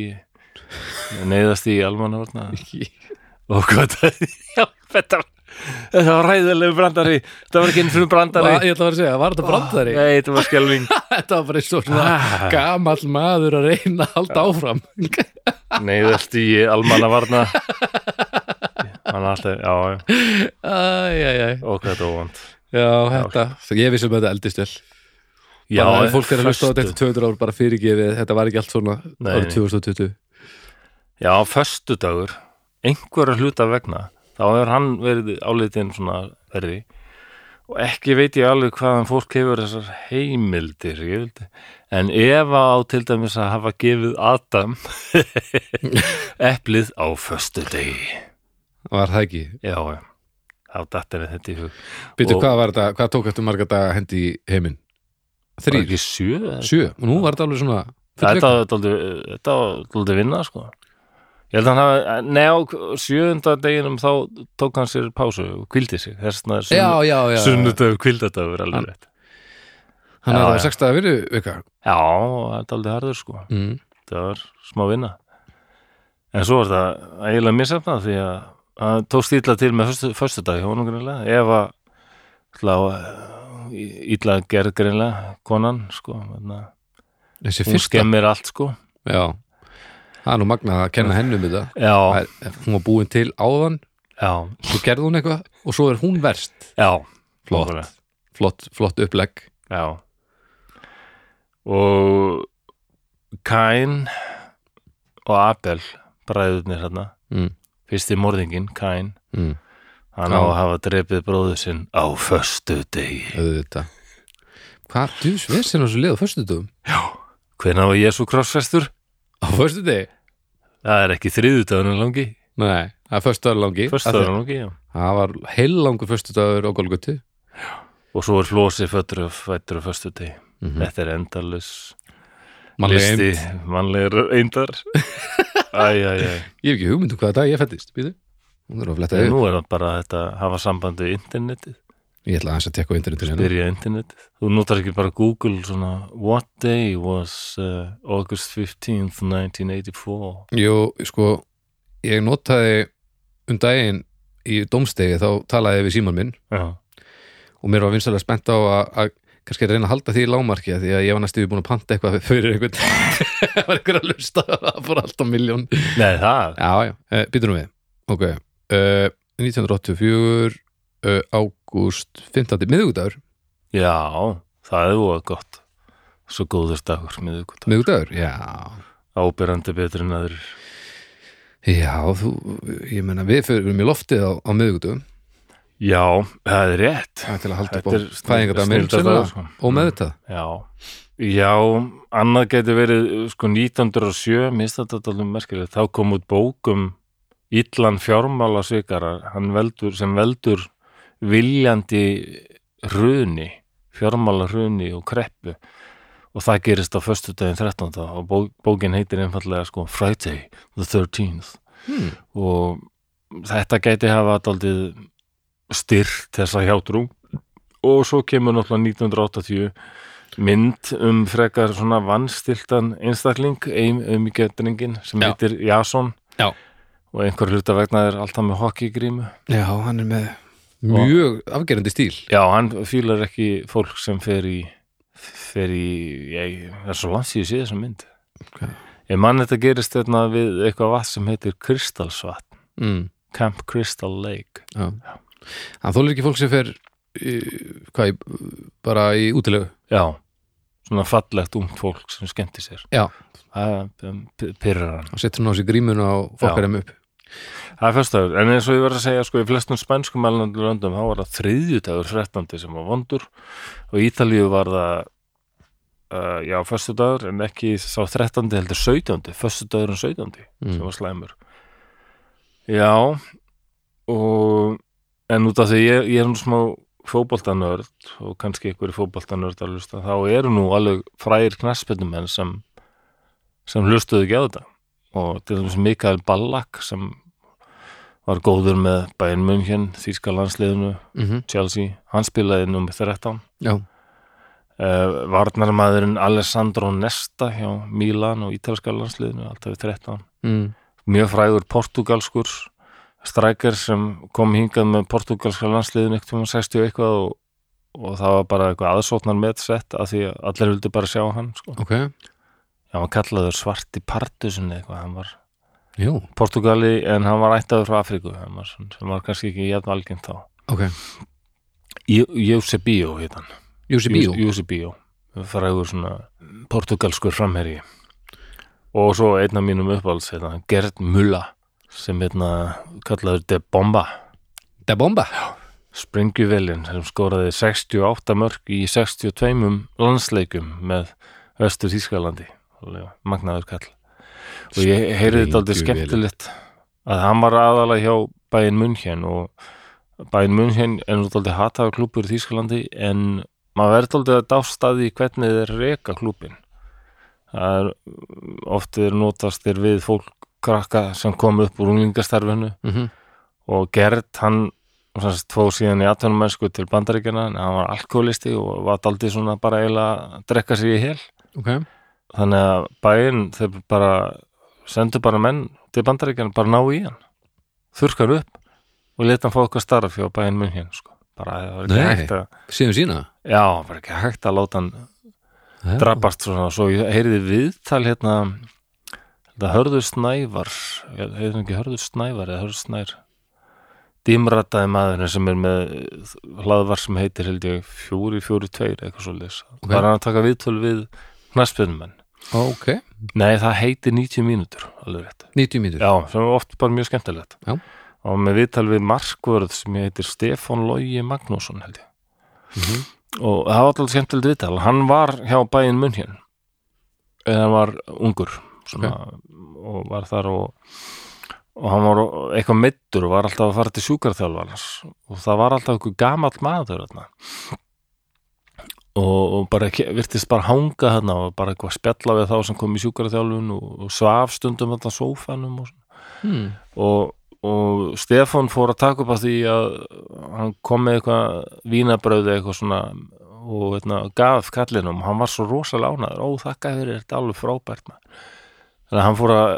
S1: neyðast í almannavarna og hvað það (laughs) já, þetta, þetta var ræðilegu brandari þetta var ekki einn fyrir brandari
S2: ég ætla að vera að segja, var þetta brandari?
S1: Nei, þetta var (laughs) skelving
S2: (laughs) Þetta var bara eins og svona
S1: Ah.
S2: gamall maður að reyna að halda áfram (laughs)
S1: neyðast í (laughs) almannavarna hann er alltaf, já, já,
S2: Æ, æ, æ.
S1: og hvað þetta var vond
S2: Já, þetta, ég vissum að þetta eldist vel
S1: Já,
S2: bara ef fólk er að hlusta á
S1: föstu.
S2: þetta eftir 200 ár bara fyrirgefið, þetta var ekki allt svona
S1: Nei,
S2: árið
S1: nei.
S2: 2020
S1: Já, föstudagur, einhverja hluta vegna, þá hefur hann verið álitin svona verði og ekki veit ég alveg hvaðan fólk hefur þessar heimildir, ég vildi. En ef á til dæmis að hafa gefið Adam (laughs) eplið á föstudegi.
S2: var það ekki
S1: Já, já, þá dattir við þetta í hug.
S2: Býtu,
S1: Og-
S2: hvað var þetta, hvað tók eftir marga daga hendi í heiminn?
S1: Var
S2: Þrýr,
S1: Ekki sjö? eða?
S2: sjö, og nú var þetta alveg svona
S1: Þetta var dálítið- þetta var dóldi vinna, sko. Ég held að hann hafa, neða, sjöunda deginum þá tók hann sér pásu og kvildi sig. Þess vegna er sunn-
S2: Já, já, já, já.
S1: Sunnudagur, kvildadagur,
S2: Hann-
S1: alveg rétt.
S2: hann
S1: Já,
S2: er það
S1: já.
S2: sexta að veru vika
S1: Já, þetta er aldrei harður sko.
S2: mm.
S1: Það var smá vinna. En svo var það eiginlega misjafna því að hann tókst ítla til með föstu, föstu dag hjá honum greinlega ef að ætla að- ítla eh, gerð greinlega konan sko þannig að
S2: þessi
S1: hún
S2: fyrsta
S1: skemmir allt sko
S2: já, það er nú magnað að kenna hennu um þetta
S1: já,
S2: Það er- hún var búin til áðan
S1: já,
S2: svo gerði hún eitthvað og svo er hún verst
S1: já
S2: flott,
S1: nákvæmlega,
S2: flott, flott upplegg
S1: já og Kain og Abel bræðurnir hérna
S2: mm,
S1: fyrsti morðingin, Kain
S2: mm,
S1: hann
S2: Já.
S1: á að hafa drepið bróður sinn á föstu degi
S2: auðvitað hvað, þú sverst hérna þessu lið á föstudum
S1: hvernig var Jésu krossfestur?
S2: á föstudegi?
S1: það er ekki þriðudagunum langi
S2: nei, það er föstudagur langi
S1: föstudagunum langi, já
S2: það var heil langur föstudagur á Golgutu
S1: og svo er hlósi föttur og fættur og föstu degi
S2: Mm. Mhm.
S1: þetta er endalus Mhm. listi, mannlegar eindar æj,
S2: ég
S1: æj, æj
S2: hef ekki hugmynd um hvaða dag ég fættist býðu, hún er að fletta
S1: en
S2: yfir
S1: nú er það bara þetta að hafa sambandi við internetið,
S2: ég ætla aðeins að tekka á internetinu hérna.
S1: byrja internetið þú notar ekki bara Google svona what day was uh, August 15th 1984
S2: Jú, sko, ég notaði um daginn í dómstegi þá talaði ég við síman minn
S1: já,
S2: og mér var vinsalega spennt á að, að kannski reyna að halda því í lágmarki af því að ég var næstu búin að panta eitthvað fyrir einhvern (laughs) það var einhver að lusta það fór alltaf miljón já,
S1: nei það
S2: já, uh, býtum við ok, uh, 1984 uh, ágúst 15. miðvíkudagur,
S1: já, það er voða gott svo góður dagur miðvikudag
S2: miðvíkudagur já,
S1: ábyrrandi betur en aður
S2: já, þú ég menna við förum í loftið á, á miðvíkudagum
S1: já, það er rétt
S2: Það er til að halda upp á
S1: Þetta er snill-
S2: fæðingardag með
S1: snilldardagur, sko.
S2: og með þetta
S1: Já, já, annað getur verið sko 1907, minnst þetta talum merkilegt, þá kom út bók um illan fjármála svikara, hann veldur, sem veldur viljandi runi, fjármála runi og kreppu og það gerist á föstudaginn 13. og bó, bókin heitir einfallega sko Friday the 13th
S2: hmm.
S1: og þetta gæti hafa daldið styrt þessa hjátrú og svo kemur náttúrulega 1980 mynd um frekar svona vannstiltan einstakling, ein umgjöndringin sem
S2: Já.
S1: heitir Jason
S2: Já.
S1: og einhver hluta vegna er alltaf með hokkigrímu
S2: Já, hann er með mjög afgerandi stíl
S1: Já, hann fýlar ekki fólk sem fer í fer í, ég, það er svo langt síðu síðu þessa mynd
S2: Ok.
S1: Ég mann þetta gerist þarna við eitthvað vatn sem heitir Kristalsvatn,
S2: mm.
S1: Camp Crystal Lake
S2: Já. Hann þólir ekki fólk sem fer í, hvað, í, bara í útilegu
S1: Já, svona fallegt ungt fólk sem skemmti sér.
S2: Já.
S1: Það um, p- pirrar hann.
S2: og setur hann á sig grímuna og fokkar þeim upp
S1: Það er fyrstaður, en eins og ég verð að segja, sko, í flestum spænskum alveg löndum, þá var það þriðjudagur 13. sem var vondur og í Ítalíu var það, uh, já, fyrstudagur, en ekki sá 13. heldur 17. Fyrstudagurinn 17. sem
S2: mm.
S1: var slæmur. Já, og, en út af því ég, ég er nú smá fótboltanörd og kannski ykkur fótboltanörd að hlusta, þá eru nú alveg frægir knassbyrnumenn sem, sem hlustuðu ekki á þetta og til dæmis Mikael Ballack sem var góður með Bayern München, Þíska landsliðinu,
S2: Mm
S1: Chelsea, hann spilaði nummer 13
S2: Já,
S1: uh, varnarmaðurinn Alessandro Nesta hjá Milan og Ítalska landsliðinu, alltaf við 13
S2: mm.
S1: mjög frægur portugalskur strækjar sem kom hingað með portugalska landsliðin ekkert um 60 og eitthvað og, og það var bara eitthvað aðsóknar með sett af því að allir vildi bara sjá hann sko.
S2: ok
S1: Já, hann kallaður svarti partusin eitthvað, hann var
S2: Jú,
S1: Portugali en hann var ættaður frá Afríku hann var, svona- sem var kannski ekki jæfn algjönd þá
S2: ok
S1: Jósebíó heit hann
S2: Júsi Bíó
S1: Jósebíó, frægur svona portugalskur framherji og svo einn af mínum uppáhalds hérna, Gerd Mulla sem hérna kallaður De Bomba
S2: Da Bomba
S1: Springjuvelin sem skoraði 68 mörg í 62 landsleikum með Östur Þískalandi magnaður kall og ég heyrði þetta aldrei
S2: Sprengjuvélin.
S1: skemmtilegt að hann var aðalega hjá Bæin München og Bæin München er nú aldrei hataða klúpur í Þískalandi en maður verður aldrei að dástaði í hvernig þeir reka klúpin það er oft þeir notast þeir við fólk krakka sem kom upp úr unglingastarfinu
S2: mm -hmm.
S1: og Gerd hann sannst, fóð síðan í atvinnumennsku til bandaríkjana en hann var alkoholisti og var daldið svona bara eiginlega að drekka sig í hel
S2: Ok,
S1: þannig að bæinn þeir bara sendu bara menn til bandaríkjana bara ná í hann þurrkar upp og leta hann fá eitthvað starf hjá bæinn mun hér sko. bara það var ekki
S2: Nei.
S1: hægt að
S2: síðan sína
S1: já, bara ekki hægt að láta hann drapast svona svo ég heyrði viðtal hérna þetta hörður snævar heyrði hann ekki hörður snævar eða hörður snær dimrataði maðurinn sem er með hlaðvar sem heitir held ég 442 eitthvað svolítið
S2: Ok.
S1: okay. var hann að taka viðtöl við knaspinumenn
S2: ok,
S1: nei það heitir 90 mínútur alveg rétt
S2: 90 mínútur
S1: já sem er oft bara mjög skemmtilegt
S2: Já.
S1: og með viðtal við markvörð sem heitir Stefán Lógi Magnússon held ég
S2: Mhm.
S1: og það var alltaf skemmtilegt viðtal hann var hjá bæinn munn hér eða hann var ungur svona, og var þar og, og hann var eitthvað meittur og var alltaf að fara til sjúkarþjálfarnas og það var alltaf eitthvað gamall maður þarna og, og bara ke- virtist bara hanga þarna og bara eitthvað spjalla við þá sem kom í sjúkarþjálfun og, og svaf stundum þarna á sófanum og, svona
S2: hmm.
S1: og, og Stefán fór að taka upp að því að hann kom með eitthvað vínabröði eitthvað svona og eitna, gaf kallinum, hann var svo rosalega ánæður ó þakka fyrir þetta alveg frábært maður. þannig að hann fór að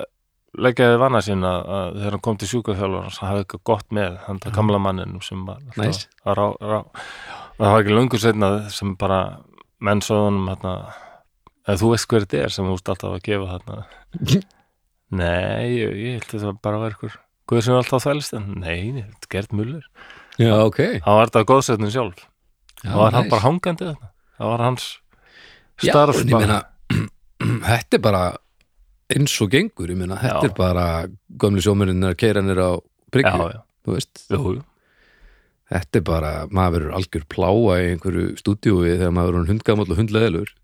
S1: leggja við vanna sín að, að þegar hann kom til sjúkaþjálfur hann hafði eitthvað gott með hann það gamla manninum sem var alltaf
S2: Nice.
S1: að rá, rá. og það var ekki löngu setna sem bara menn sögðunum hérna, eða þú veist hver þetta er sem þú ert alltaf að gefa þarna Nei, ég, ég held að þetta bara var ykkur Guður sem er alltaf þvælst en nei, nei, þetta er Gert Muller
S2: (laughs) já, ok já,
S1: Hann var þetta góðsetnum sjálf Það var hann
S2: nice.
S1: bara hangandi þetta Það var hans
S2: Já,
S1: starf
S2: en ég
S1: bara.
S2: meina, (clears throat) þetta er bara eins og gengur, ég meina, þetta
S1: Já.
S2: er bara gömlu sjómennir að keira nýra á
S1: Já,
S2: bryggju,
S1: já,
S2: þú veist
S1: jú, jú.
S2: þetta er bara, maður verður algjör pláa í einhverju stúdíói þegar maður verður hundgamall og
S1: (laughs)
S2: hundleðilur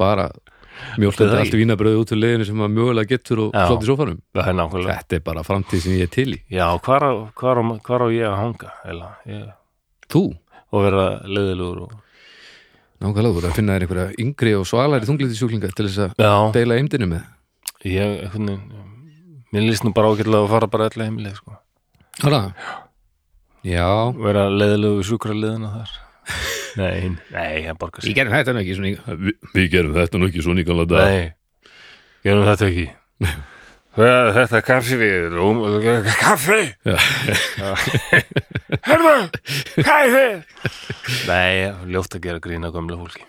S2: bara
S1: Það
S2: mjólkandi
S1: er
S2: allt vínabröði út úr leiðinu sem maður mjögulega getur og
S1: Já.
S2: slátt í sófanum
S1: það er nákvæmlega
S2: þetta er bara framtíð sem ég er til í
S1: Já, hvar á, hvar á, hvar á ég að hanga eða, ég,
S2: þú,
S1: og vera leiðilegur og...
S2: nákvæmlega, þú er að finna þér einhverja yngri og svalari þunglitisjúklinga til þess að
S1: Já,
S2: deila eimdinu með
S1: ég, einhvern veginn Mér líst nú bara ágætlega að fara bara allir heimileg sko.
S2: Hara. Já,
S1: vera leiðilegur sjúkra leiðina þar
S2: (laughs)
S1: Nei, nei, ég borgar
S2: Við
S1: sér
S2: gerum þetta nú ekki svona í- Vi, Við gerum þetta nú ekki svona í gamla dag
S1: Nei, gerum þetta (laughs) ekki Hvað, Þetta er kaffi við rúm (laughs) Kaffi
S2: Já.
S1: (laughs) Herðu, kaffi Nei, ljótt að gera grína gömlega fólki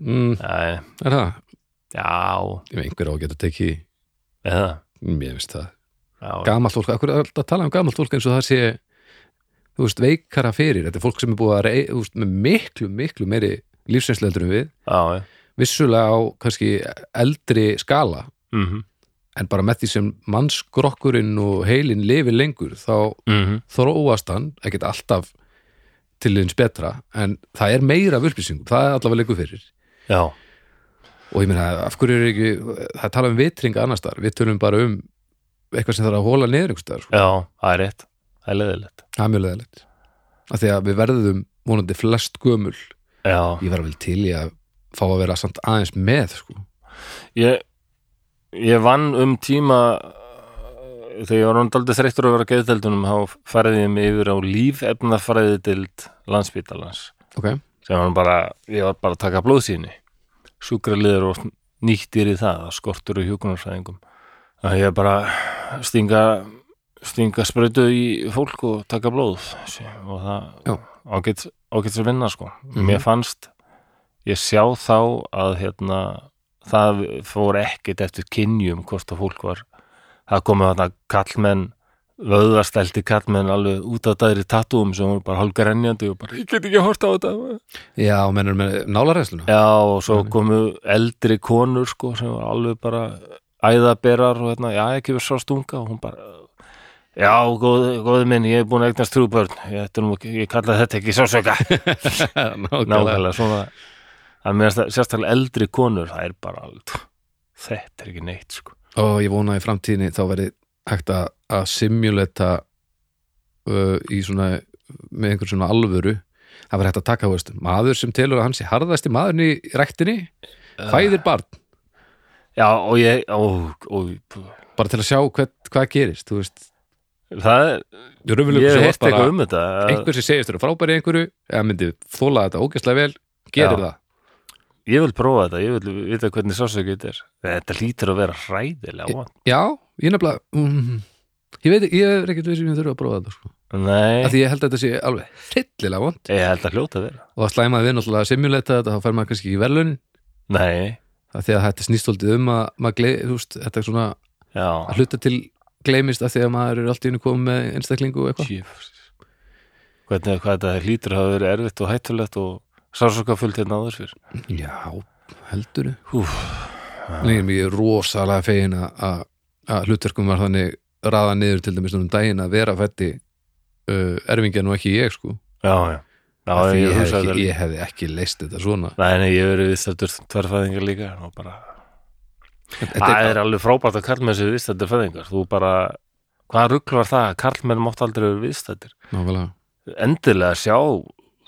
S2: mm,
S1: Nei,
S2: Er það?
S1: Já,
S2: Ég veit einhver á að geta tekið
S1: eða
S2: Mér finnst það
S1: Já,
S2: Gamalt fólk, akkur er alltaf að tala um gamalt fólk eins og það sé Þú veist, veikara fyrir Þetta er fólk sem er búið að rey, þú veist, með miklu, miklu meiri lífsinslendur en við
S1: já, já.
S2: Vissulega á kannski eldri skala
S1: Mhm,
S2: En bara með því sem mannskrokkurinn og heilinn lifir lengur Þá
S1: mhm,
S2: þróast hann, ekkert alltaf til hins betra En það er meira af upplýsingum, það er allavega leikur fyrir
S1: Já,
S2: og ég meina, af hverju er ekki það tala um vitring annars þar, við tölum bara um eitthvað sem þarf að hóla niður einhvers staðar, sko.
S1: já, það er rétt Það er leiðilegt
S2: það er mjög leðilegt af því að við verðum vonandi flest gömul
S1: Já,
S2: ég var vel til í að fá að vera samt aðeins með sko.
S1: ég, ég vann um tíma uh, þegar ég var hann aldrei þreyttur að vera á geðdeldunum þá færði ég mig yfir á lífefnafræði dild landsbítalans
S2: ok,
S1: sem hann bara, ég var bara að taka blóðsýni sjúkraliður og nýttir í það að skortur og hjúkunarsæðingum að ég bara stinga stinga sprautu í fólk og taka blóð sí, og
S2: Já.
S1: það ágætt ágætt sem vinna sko
S2: Mhm.
S1: mér fannst, ég sjá þá að hérna það fór ekkit eftir kynjum hvort að fólk var það komið þarna kallmenn vöðvastælti kallmenn alveg út af dæri tattúum sem voru bara hálfgrenjandi og bara, ég get ekki að horta á þetta
S2: já, mennur með nálarresluna
S1: Já, og svo
S2: Þannig.
S1: komu eldri konur sko, sem var alveg bara æðaberar og hérna, já, ekki verið svo stunga og hún bara, já, góði, góði minn ég er búin að eignast þrjú börn ég, þetta er nú ekki- ég kalla þetta ekki sásöka
S2: (laughs) (laughs) nákvæmlega,
S1: nákvæmlega, svona að mér finnst það- sérstaklega eldri konur það er bara alveg, þetta er ekki neitt sko.
S2: og ég vona að í framtíðinni þá verði hægt að, að simuleta uh, í svona með einhver svona alvöru það verði hægt að taka, þú veist, maður sem telur að hann sé harðasti maðurinn í ræktinni
S1: Ah.
S2: fæðir barn
S1: Eh, já, og ég og, og,
S2: bara til að sjá hvað, hvað gerist þú veist,
S1: það er,
S2: raunverulegur
S1: ég hef
S2: sem
S1: heilt
S2: var bara
S1: eitthvað um þetta að-
S2: einhver sem segist þér frábæri í einhverju eða myndi þóla þetta ógæslega vel gerir
S1: Já.
S2: það,
S1: ég vil prófa þetta, ég vil vita hvernig sásöka þetta er þetta lítur að vera hræðilega vond
S2: já, ég nefnilega mm, Ég veit, ég er ekkert veist sem ég þurfa að prófa þetta sko.
S1: Nei,
S2: Af því ég held að þetta sé alveg hryllilega vond
S1: ég held að hljóta að vera
S2: og að slæmaði við náttúrulega að simulata þetta þá fær maður kannski ekki verðlun
S1: Nei,
S2: af því að þetta snýst holdið um að maður glei, þú veist, þetta er svona
S1: já
S2: að hluta til gleymist af því að maður er allt í unni komið með einstaklingu og eitthvað
S1: Jöfus. Hvernig, hvað þetta hlýtur hafa verið erfitt og hættulegt og sársokafullt hérna áður fyrr
S2: Já, heldur
S1: Úf,
S2: Lengi mér ég er rosalega fegin að- að að hlutverkum var þannig raða niður til dæmis um daginn að vera fætti uh, erfingjan og ekki ég sko
S1: já, já Já,
S2: Af því ég,
S1: ég, ég,
S2: hefði
S1: ekki,
S2: ekki,
S1: ég...
S2: ég hefði ekki leist þetta svona
S1: Nei, nei, ég hef verið vistættur tverrfæðingar líka og bara
S2: Þetta
S1: Það
S2: er,
S1: er alveg frábært að karlmenn séu viðstættir fæðingar Þú bara, hvaða rugl var það? Karlmenn mátt aldrei vera viðstættir
S2: nákvæmlega
S1: Endilega sjá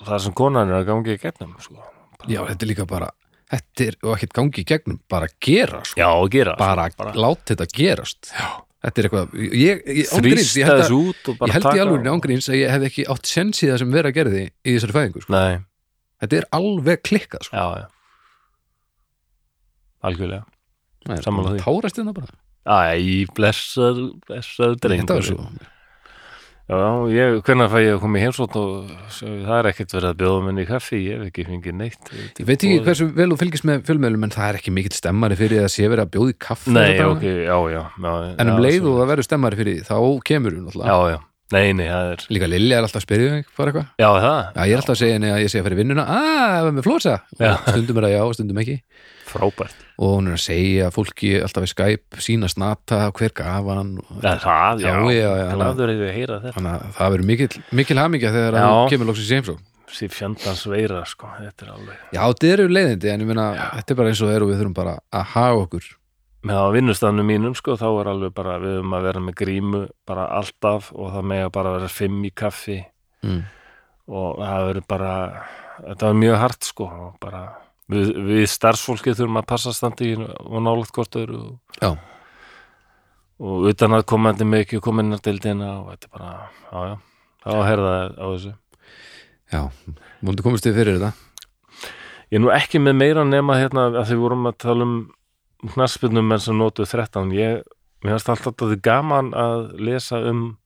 S1: það sem konan er að gangi í gegnum sko.
S2: Já, þetta er líka bara, þetta er og ekkert gangi í gegnum, bara gera sko.
S1: Já, og gera
S2: bara,
S1: bara-
S2: lát þetta gerast Já. Þetta er eitthvað, ég, ég, án gríns, ég
S1: Þrýsta
S2: held að
S1: þessu út og bara
S2: ég held í
S1: taka
S2: alveg
S1: og-
S2: ángríns að ég hef ekki átt sens í það sem vera gerði í þessari fæðingu sko.
S1: Nei,
S2: þetta er alveg klikkað sko.
S1: já, já Algjörlega
S2: Nei,
S1: sammála því.
S2: tárast þetta bara
S1: Æ, blessar, blessar drengur
S2: þetta var svo
S1: Já, ég, hvernig fæ ég að koma í heimsótt og það er ekkert verið að bjóða menn í kaffi ég hef ekki fengið neitt
S2: ég veit ekki hversu vel þú fylgist með fjölmjölum en það er ekki mikill stemmari fyrir að sé verið að bjóði kaffi
S1: Nei,
S2: þessa dagana.
S1: ok, já, já, já
S2: en um
S1: já,
S2: leið
S1: svo-
S2: og það verður stemmari fyrir því, þá kemur hún
S1: Já,
S2: alltaf
S1: já, nei, nei, það er
S2: líka Lilja er alltaf að spyrja mig bara eitthvað
S1: Já, það,
S2: Já, ég er alltaf að segja henni að ég segja að fara í vinnuna að, með flósa,
S1: Já.
S2: Og stundum er að já og stundum ekki
S1: frábært
S2: og hún er að segja fólki alltaf í Skype sína snata, hver gaf hann og-
S1: Já, það, já,
S2: Já, já, já,
S1: glæður hefur að heyra þetta
S2: þannig að það verður mikil, mikil hamingja þegar
S1: Já.
S2: hann kemur loksins í heimsó
S1: Sér fjandans veira, sko, þetta er alveg
S2: Já, þetta eru leiðindi, en ég meina þetta er bara eins og það er og við þurfum bara að haga okkur
S1: með á vinnustafnum mínum sko þá er alveg bara við höfum að vera með grímu bara alltaf og það mega bara vera fimm í kaffi
S2: mm.
S1: og það verður bara þetta var mjög hart sko og bara við, við starfsfólkið þurfum að passa standi í- og nálaðt hvort öðru og,
S2: Já,
S1: og utan að komandi með ekki kominna deildina og þetta er bara, já já þá herða á þessu
S2: já, múndi komist þið fyrir þetta
S1: ég er nú ekki með meira nema hérna að því vorum að tala um knarsbytnum menn sem notuð 13 ég, mér finnst alltaf að þið gaman að lesa um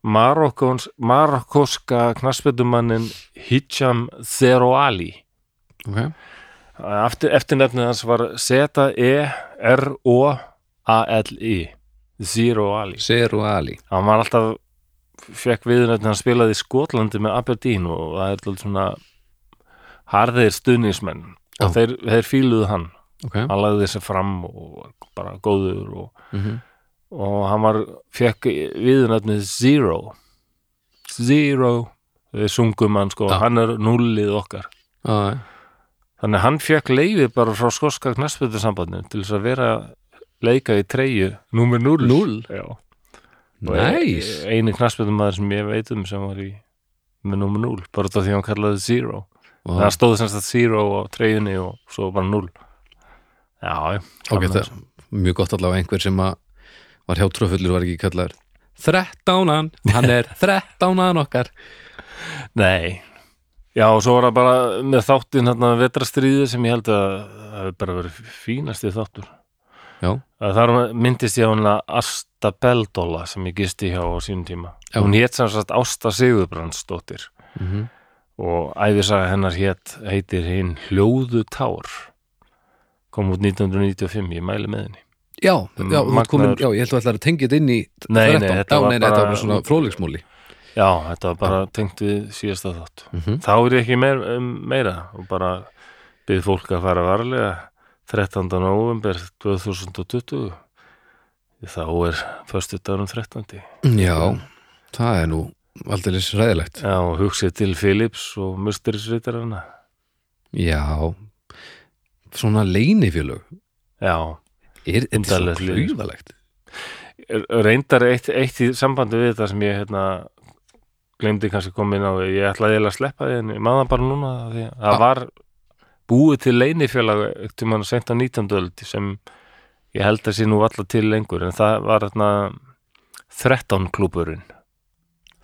S1: Marokkons, marokkoska knarsbytnumannin Hijam Zeroali
S2: Ok,
S1: eftir, eftir nefnið hans var E Z-E-R-O-A-L-I Zeroali
S2: Seru Ali
S1: hann var alltaf fekk viðunöfni hann spilaði í Skotlandi með Aberdeen og það er alltaf svona harðir stuðningsmenn
S2: Já.
S1: og þeir, þeir fíluðu hann
S2: Ok,
S1: hann lagði þessi fram og var bara góður og,
S2: mm
S1: og hann var fekk viðunöfni Zero Zero við sungum hann sko,
S2: Já.
S1: hann er nullið okkar
S2: já,
S1: þannig að hann fekk leiði bara frá skoska knassbyrðarsambandinu til þess að vera leika í treyju númer 0
S2: Núll?
S1: Já.
S2: næs
S1: Og e- eini knassbyrðumæður sem ég veit um sem var í með númer 0 bara þá því að hann kallaði Zero
S2: Vá.
S1: það stóð semst að Zero á treyjunni og svo bara 0 Já, já
S2: Ok,
S1: gaman
S2: það
S1: sko.
S2: er mjög gott allavega einhver sem að var hjá trófullur var ekki kallar Þrettánan, hann
S1: (laughs)
S2: er þrettánan okkar
S1: Nei Já, og svo var það bara með þáttinn hérna vetrastriði sem ég held að það hefur bara verið fínasti þáttur
S2: Já,
S1: að þar myndist ég á hana Asta Beldóla sem ég gisti hjá á sínum tíma
S2: Já.
S1: hún hétt sem sagt Ásta Sigurbrandsdóttir
S2: mm
S1: Mm-hmm.
S2: -hmm.
S1: og æfisaga hennar hétt heitir hinn Hljóðu Tár kom út 1995, ég mæli með henni
S2: já, já, þú ert
S1: Mm, Magnaður.
S2: komin, já, ég held að það er að tengja þetta inn í
S1: Nei, nei,
S2: 13.
S1: þetta
S2: já,
S1: var
S2: nei, nei, þetta var
S1: bara-
S2: bara svona fróðleiksmúli
S1: Já, þetta var bara tengt við síðasta þátt
S2: Mhm.
S1: þá er ég ekki meir, um, meira og bara byrð fólk að fara varlega 13. november 2020 þá er föstu dagunum 13.
S2: Já, það er nú aldrei ræðilegt
S1: Já, og hugsið til Philips og Musterisritarana
S2: Já, svona leinifjölög
S1: Já,
S2: er þetta svo
S1: Undarlegt líf.
S2: klúðalegt
S1: er- reyndar eitt, eitt í sambandi við þetta sem ég hérna glemdi kannski komin á því. ég ætlaði eiginlega að sleppa því en ég maður bara núna af því að það
S2: Ah.
S1: var búið til leinifélag eftir mann sent á 19. öld sem ég held að sé nú alltaf til lengur en það var hérna 13 klúburinn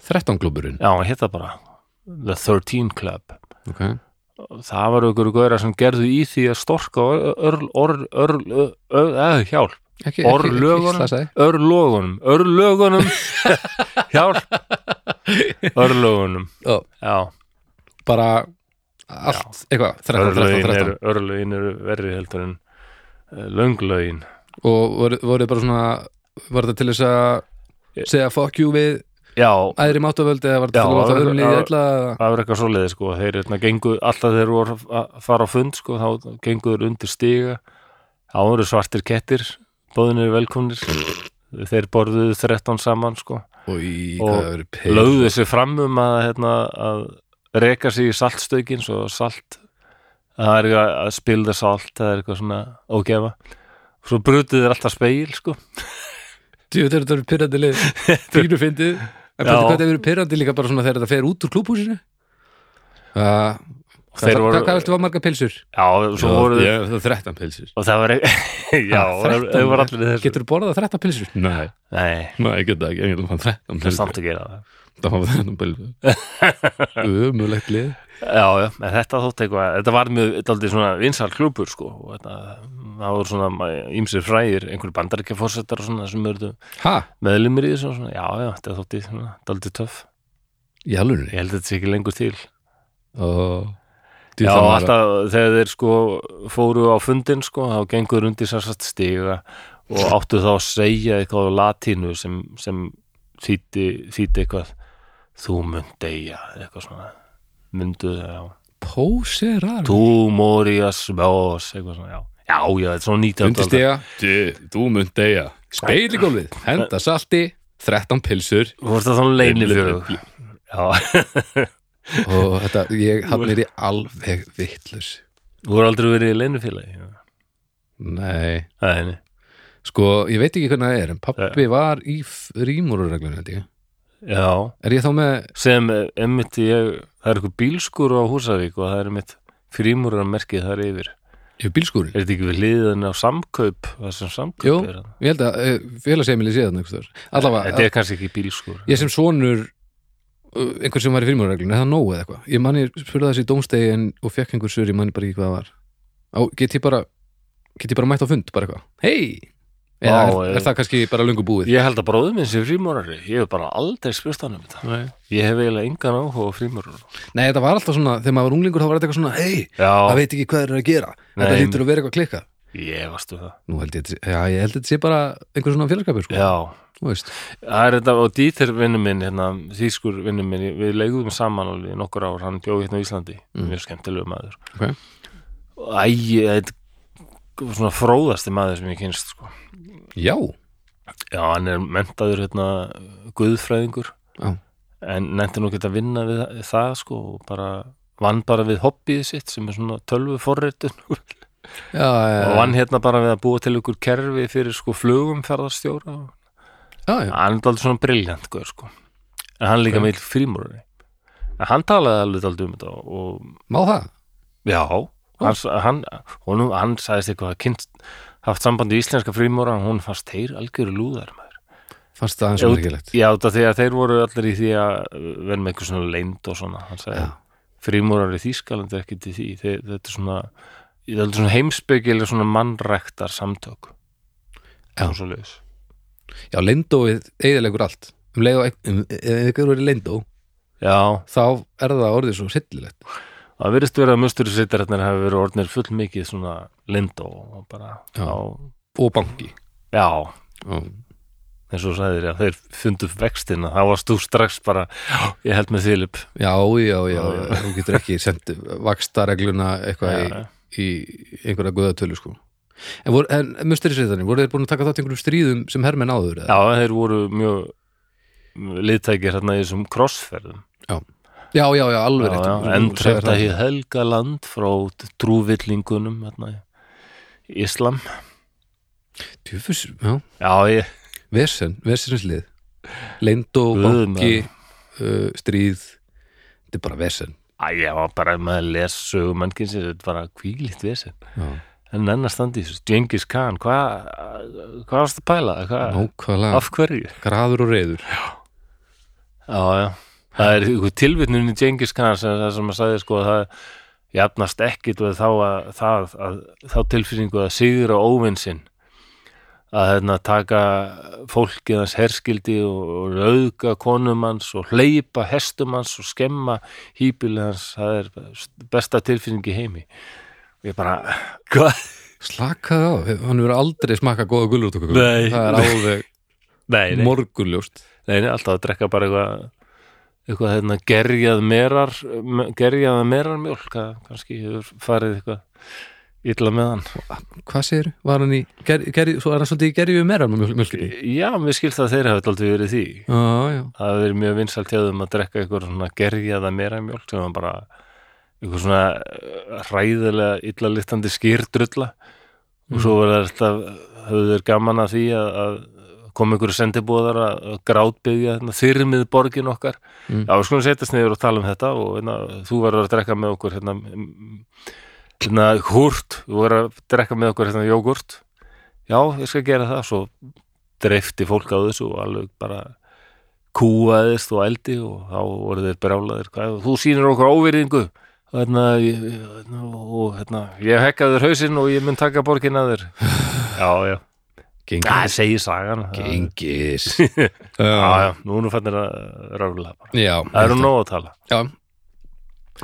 S2: 13 klúburinn
S1: já, hann hétta bara The 13 Club
S2: okay.
S1: Og það var ykkur góðra sem gerðu í því að storka orð, orð, orð, orð, orð, orð, orð hjálp
S2: ekki,
S1: Orðlögunum?
S2: ekki, ekki
S1: Örlögunum, örlögunum Hjálp Örlögunum,
S2: Ó,
S1: já
S2: bara allt, eitthvað, 13, 13,
S1: Örlögin
S2: 13
S1: eru, örlögin eru verri heldur en eh, Lönglögin
S2: og voru, voru bara svona var þetta til þess að segja fuck you við
S1: Já,
S2: æðri máttavöld eða var þetta
S1: Já,
S2: til að láta
S1: það-
S2: öðrum líði
S1: það-
S2: illa eða-
S1: það var eitthvað svoleiði sko Þeir hérna, gengu, alltaf þeir voru að fara á fund sko, þá genguður undir stiga þá voru svartir kettir bóðinir velkomnir Þeir borðuðu 13 saman sko
S2: Í,
S1: Og
S2: hvað það eru peil.
S1: lögðu sig fram um að, hérna, að reka sig í saltstökin svo salt það er eitthvað að spilda salt það er eitthvað svona ógefa svo brutið þér alltaf speil sko
S2: Djú, þetta eru- þetta eru pyrrandi
S1: (laughs)
S2: lið Fínu fyndið En
S1: Já.
S2: betur hvað þetta eru pyrrandi líka bara svona þegar þetta fer út úr klúbhúsinu uh,
S1: Þeir
S2: Hvað
S1: voru-
S2: hvað viltu var marga pilsur?
S1: já, svo voru
S2: ég, það er 13 pilsur
S1: og það var (laughs) ekki já,
S2: Ha,
S1: það
S2: 13,
S1: var allir í þessu
S2: eh, Getur þú borðað 13 pilsur? Nei,
S1: nei,
S2: nei, ég get það ekki, ég get það 13
S1: það er samt að gera það
S2: Það var 13
S1: (laughs)
S2: pilsur Umulegt lið
S1: já, já, en þetta þótt eitthvað þetta var mjög, þetta aldrei svona vinsal klubur sko og þetta, það voru svona ímsir frægir, einhverju bandaríkjafórsetar og svona sem eru
S2: Ha,
S1: meðlumir í þessu og svona, já, já, þetta þótti svona, daldið töff
S2: í alveg
S1: ég held að þetta sé ekki lengur til
S2: Já,
S1: Já, alltaf þegar þeir sko fóru á fundin sko, þá gengur undir sérsagt stiga og áttu þá að segja eitthvað á latínu sem, sem þýtti, þýtti eitthvað þú munt deyja, eitthvað svona myndu, já,
S2: Mm. Póserar
S1: tú morias vós, eitthvað svona, já, já, já, þetta er svona
S2: Undir
S1: 19.
S2: stiga Þú munt deyja Speiligólfið Henda salti 13 pilsur
S1: Þú vorst það svona leinifjörug, já,
S2: og þetta, ég, hann er í alveg vittlus
S1: þú voru aldrei verið í leinifjörug,
S2: nei,
S1: það er henni,
S2: sko, ég veit ekki hvernig það er en pappi var í rýmúrurreglun held ég,
S1: já,
S2: er ég þá með
S1: sem eh, einmitt ég, það er eitthvað bílskur á Húsavík og það er einmitt frímurarmerkið þar yfir.
S2: í bílskúrin,
S1: Er þetta ekki við liðin á samkaup, það sem samkaup
S2: Jú.
S1: er? þarna?
S2: ég held að uh, félagsheimili séð þannig,
S1: Þetta
S2: allavega,
S1: er kannski ekki bílskur.
S2: ég sem sonur uh, einhver sem var í frímúrurreglun, er það nóg eða eitthvað ég manni, spurði þessi í dómstegin og fekk einhver sör, ég manni bara ekki hvað það var á, get ég bara, get ég bara mætt á fund bara eitthvað, hei eða
S1: Vá,
S2: er,
S1: eh.
S2: er það kannski bara lungu búið
S1: Ég held að bróðum minn sem frímurari, ég hef bara aldrei spurst hann um þetta.
S2: Nei.
S1: Ég hef eiginlega engan áhuga á frímurar.
S2: nei, þetta var alltaf svona, þegar maður var unglingur þá var þetta eitthvað svona, hei, það
S1: Já,
S2: veit ekki hvað þeir eru að gera þetta
S1: Nei.
S2: hlýtur að vera eitthvað klikkað
S1: ég varstu það.
S2: Nú held ég, þetta sé- já, ég held þetta sé bara einhver svona félagskapur, sko,
S1: Já,
S2: þú veist
S1: það er þetta og Dieter vinnum minn, hérna, þýskur vinnum minn, við leigðum saman alveg í nokkur ár, hann bjóð hérna á Íslandi,
S2: Mm.
S1: mjög skemmtilegu maður.
S2: Ok.
S1: Og Æ, þetta var svona fróðasti maður sem ég kynst, sko.
S2: Já,
S1: Já, hann er mentaður hérna guðfræðingur
S2: Já.
S1: en nefndi nú ekki að vinna við það- það sko og bara vann bara við hobbyið sitt sem er svona tölvu (laughs) forritun
S2: já, já,
S1: og vann hérna bara við að búa til ykkur kerfi fyrir sko flugumferðarstjóra og
S2: já, já.
S1: hann er aldrei svona briljant guður sko en hann er líka
S2: Ok.
S1: meil frímúrari en hann talaði alveg aldrei um þetta og
S2: má það
S1: já, hann, hann, honum, hann sagðist eitthvað að kynst haft sambandi í íslenska frímúra og hún fannst þeir algjöru lúðar maður
S2: fannst það eins
S1: Já,
S2: og
S1: út-
S2: merkilegt
S1: Já, þetta því að þeir voru allir í því að uh, vera með eitthvað svona leynd og svona hann sagði,
S2: Já.
S1: frímúrar í Þýskaland er ekki til því, þeir, þetta er svona þetta er svona heimspekileg svona mannræktar samtök
S2: Já.
S1: og svo leis
S2: Já, lindóið eigðilegur allt um leið og eig- um- ef einhver verið lindó
S1: Já,
S2: þá er það orðið svo sillilegt
S1: það virðist verið að mustur sittararnir hafi verið orðnir fullmikið svona leynd og bara
S2: Já.
S1: já,
S2: og banki
S1: já
S2: Já,
S1: eins og þú sagðir að þeir fundu vextina þá varst þú strax bara, "Já, ég held með Filip
S2: já, já, já, já. þú getur ekki sendt vakstaregluna eitthvað
S1: Já.
S2: í, í einhverja guðatölu, sko En, voru, en musterisveitarnir, voru þeir búin að taka þátt í einhverjum stríðum sem hermenn áður? eða?
S1: Já, þeir voru mjög liðtækir hérna í þessum krossferðum
S2: já, já, já, alveg rétt. Þú- þú
S1: en
S2: sagðir
S1: trefta
S2: það.
S1: hér Helgaland frá trúvillingunum hérna, í Íslam
S2: Djöfus, já,
S1: já, ég,
S2: Vesen, vesenslið Leyndó,
S1: Guð,
S2: banki uh, stríð þetta er bara vesen
S1: að ég var bara með að lesa sögum mannkinsins, þetta var að kvílitt vesen
S2: Já.
S1: en enna standi þessu, Genghis Khan hvað hva varst að pæla, hvað,
S2: nákvæmlega,
S1: af hverju
S2: graður og reyður
S1: já, já, það er ykkur tilvitnun í Genghis Khan sem, það sem að sagði sko að það jafnast ekkit og þá að, það, að, þá tilfinningu að sigra óvinn sinn að hérna, taka fólkið hans herskildi og, og auðga konum hans og hleypa hestum hans og skemma hýbili hans, það er besta tilfinning í heimi og ég bara, (laughs) hvað?
S2: Slakaði á, hann verður aldrei smakka góða gulrótöku
S1: Nei.
S2: Það er alveg
S1: Nei, nei,
S2: morgunljóst
S1: nei, nei, alltaf að drekka bara eitthvað eitthvað hérna gerjað merar gerjað merarmjólk að kannski hefur farið eitthvað illa með hann
S2: Hvað segir, var hann í ger, ger, Svo er hann svolítið í gerju meira með mjölkinni
S1: Já, mér skilst að þeir hafa aldrei verið því
S2: Já, já,
S1: það hefur verið mjög vinsalt hjá þeim að drekka eitthvað svona gerjaða meramjólk sem var bara eitthvað svona eh, hræðilega illalittandi skýrdrulla og svo var það alltaf höfðu þeir gaman að því að, að kom einhverju sendibúðar að að grátbyggja þarna, þyrmið borgin okkar
S2: Mm.
S1: já, við skulum setjast niður og tala um þetta og hérna, þú verður að drekka með okkur hérna, mm, hérna húrt þú verður að drekka með okkur hérna jógurt já, ég skal gera það svo dreifti fólk á þessu og alveg bara kúaðist og eldi og þá voru þeir brjálaðir hvað, þú sýnir okkur óvirðingu og hérna, ég, hérna, og hérna ég hekkaði þér hausinn og ég mun taka borgin að þér já, já, það
S2: gengis
S1: segir sagan já, (laughs)
S2: Gengis
S1: já,
S2: Já,
S1: nú erum fannir að rála bara
S2: já
S1: það eru nóg að tala
S2: Já,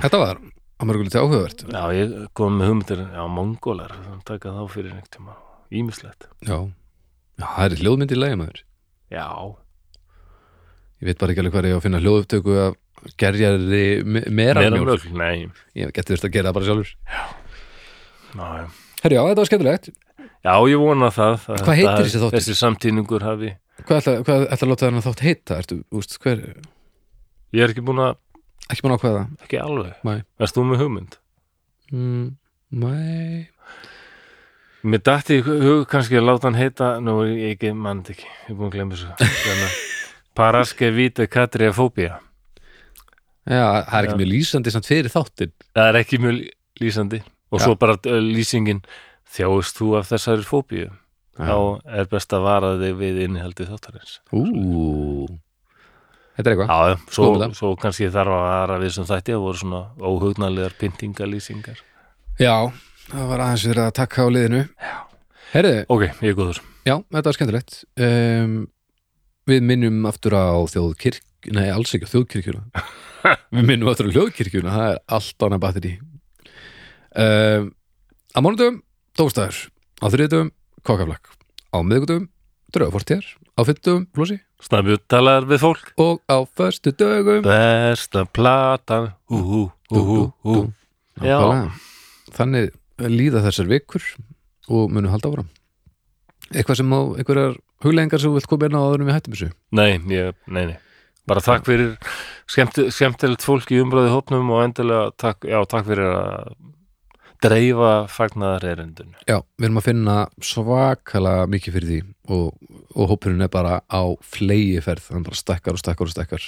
S2: þetta var að mörgulítið áhugavert
S1: já, ég kom með hugmyndir, já, mongólar taka þá fyrir einhvern tíma, ímislegt
S2: Já, já það er hljóðmynd í lægi maður
S1: já,
S2: Ég veit bara ekki alveg hvað ég á að finna hljóðupptöku af gerjari meira
S1: meira
S2: mjölk
S1: mjölk nei,
S2: Ég geti þurft að gera það bara sjálfur
S1: já, já
S2: Herri, já, þetta var skemmtilegt
S1: Já, ég vona það. að
S2: Hvað heitir
S1: þetta-
S2: þessi þáttur?
S1: Þessi samtíningur hafi.
S2: Hvað ætla, hvað ætla að láta þennan þátt heita? Ertu, úst, hver,
S1: Ég er ekki búin að,
S2: ekki búin að ákveða
S1: ekki alveg.
S2: Nei.
S1: Erst þú með hugmynd?
S2: mm, Nei
S1: Mér dætti í hug kannski að láta hann heita Nú, er ég ekki mann ekki, ég er búin að
S2: (laughs)
S1: glemma þessu Hérna, Paraske vita katriafóbía
S2: Já, það er ekki
S1: Já.
S2: mjög lýsandi samt fyrir þáttin
S1: Það er ekki mjög lí- lýsandi Og svo bara ö, lýsingin Þjáist þú af þessari fóbíu Þá er best að vara þig við innihaldi þáttarins
S2: Ú Þetta er eitthvað
S1: Já, já, svo,
S2: Skoðum það.
S1: svo kannski þarf að vara við sem þætti að voru svona óhugnalegar pyntingalýsingar
S2: Já, það var aðeins verið að taka á liðinu Já Herðu,
S1: Ok, ég er góður
S2: já, þetta var skemmtilegt um, Við minnum aftur á þjóðkirk Nei, alls ekki á þjóðkirkjuna Við minnum aftur á hljóðkirkjuna Það er allt annað batteri um, Á mánudum, dómstæður Á þriðdum, kokkaflakk Á miðgudum, draugafortjar Á fyrtum, flósi
S1: Snabbi talar við fólk
S2: Og á föstu dögum
S1: Besta platan Hú, hú, hú, hú, hú Já.
S2: Nákvæmlega. Þannig líða þessar vikur og munum halda áfram Eitthvað sem á einhverjar hugleðingar sem þú vilt koma inn á áðurum við hættum þessu
S1: Nei, ég, nei, nei Bara takk fyrir skemmt, skemmtilegt fólk í umbröði hópnum og endilega takk, já, takk fyrir að dreifa fagnaðar erindun
S2: Já, við erum að finna svakalega mikið fyrir því og, og hópurinn er bara á flegi ferð, hann bara stekkar og stekkar og stekkar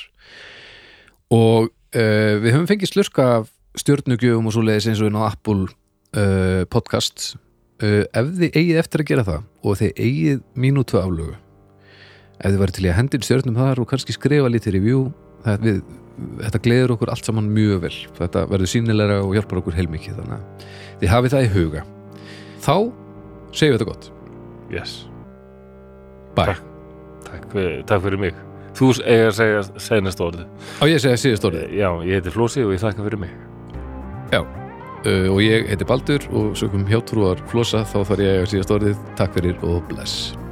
S2: og uh, við höfum fengið slurka af stjörnugjöfum og svo leiðis eins og inn á Apple uh, podcast uh, ef þið eigið eftir að gera það og þið eigið mínútu aflögu ef þið væri til í að hendin stjörnum þar og kannski skrifa lítið review það, við, þetta gleður okkur allt saman mjög vel þetta verður sínilega og hjálpar okkur heilmikið þannig að þið hafið það í huga þá segjum við þetta gott
S1: Yes,
S2: Bye.
S1: takk, fyrir- takk fyrir mig Þú eiga að segja senast orðið
S2: Á ég að segja síðust orðið
S1: Já, ég heiti Flósi og ég þakka fyrir mig
S2: uh, og ég heiti Baldur og sögum hjátrúar flosa þá þarf ég að eiga síðust orðið Takk fyrir og bless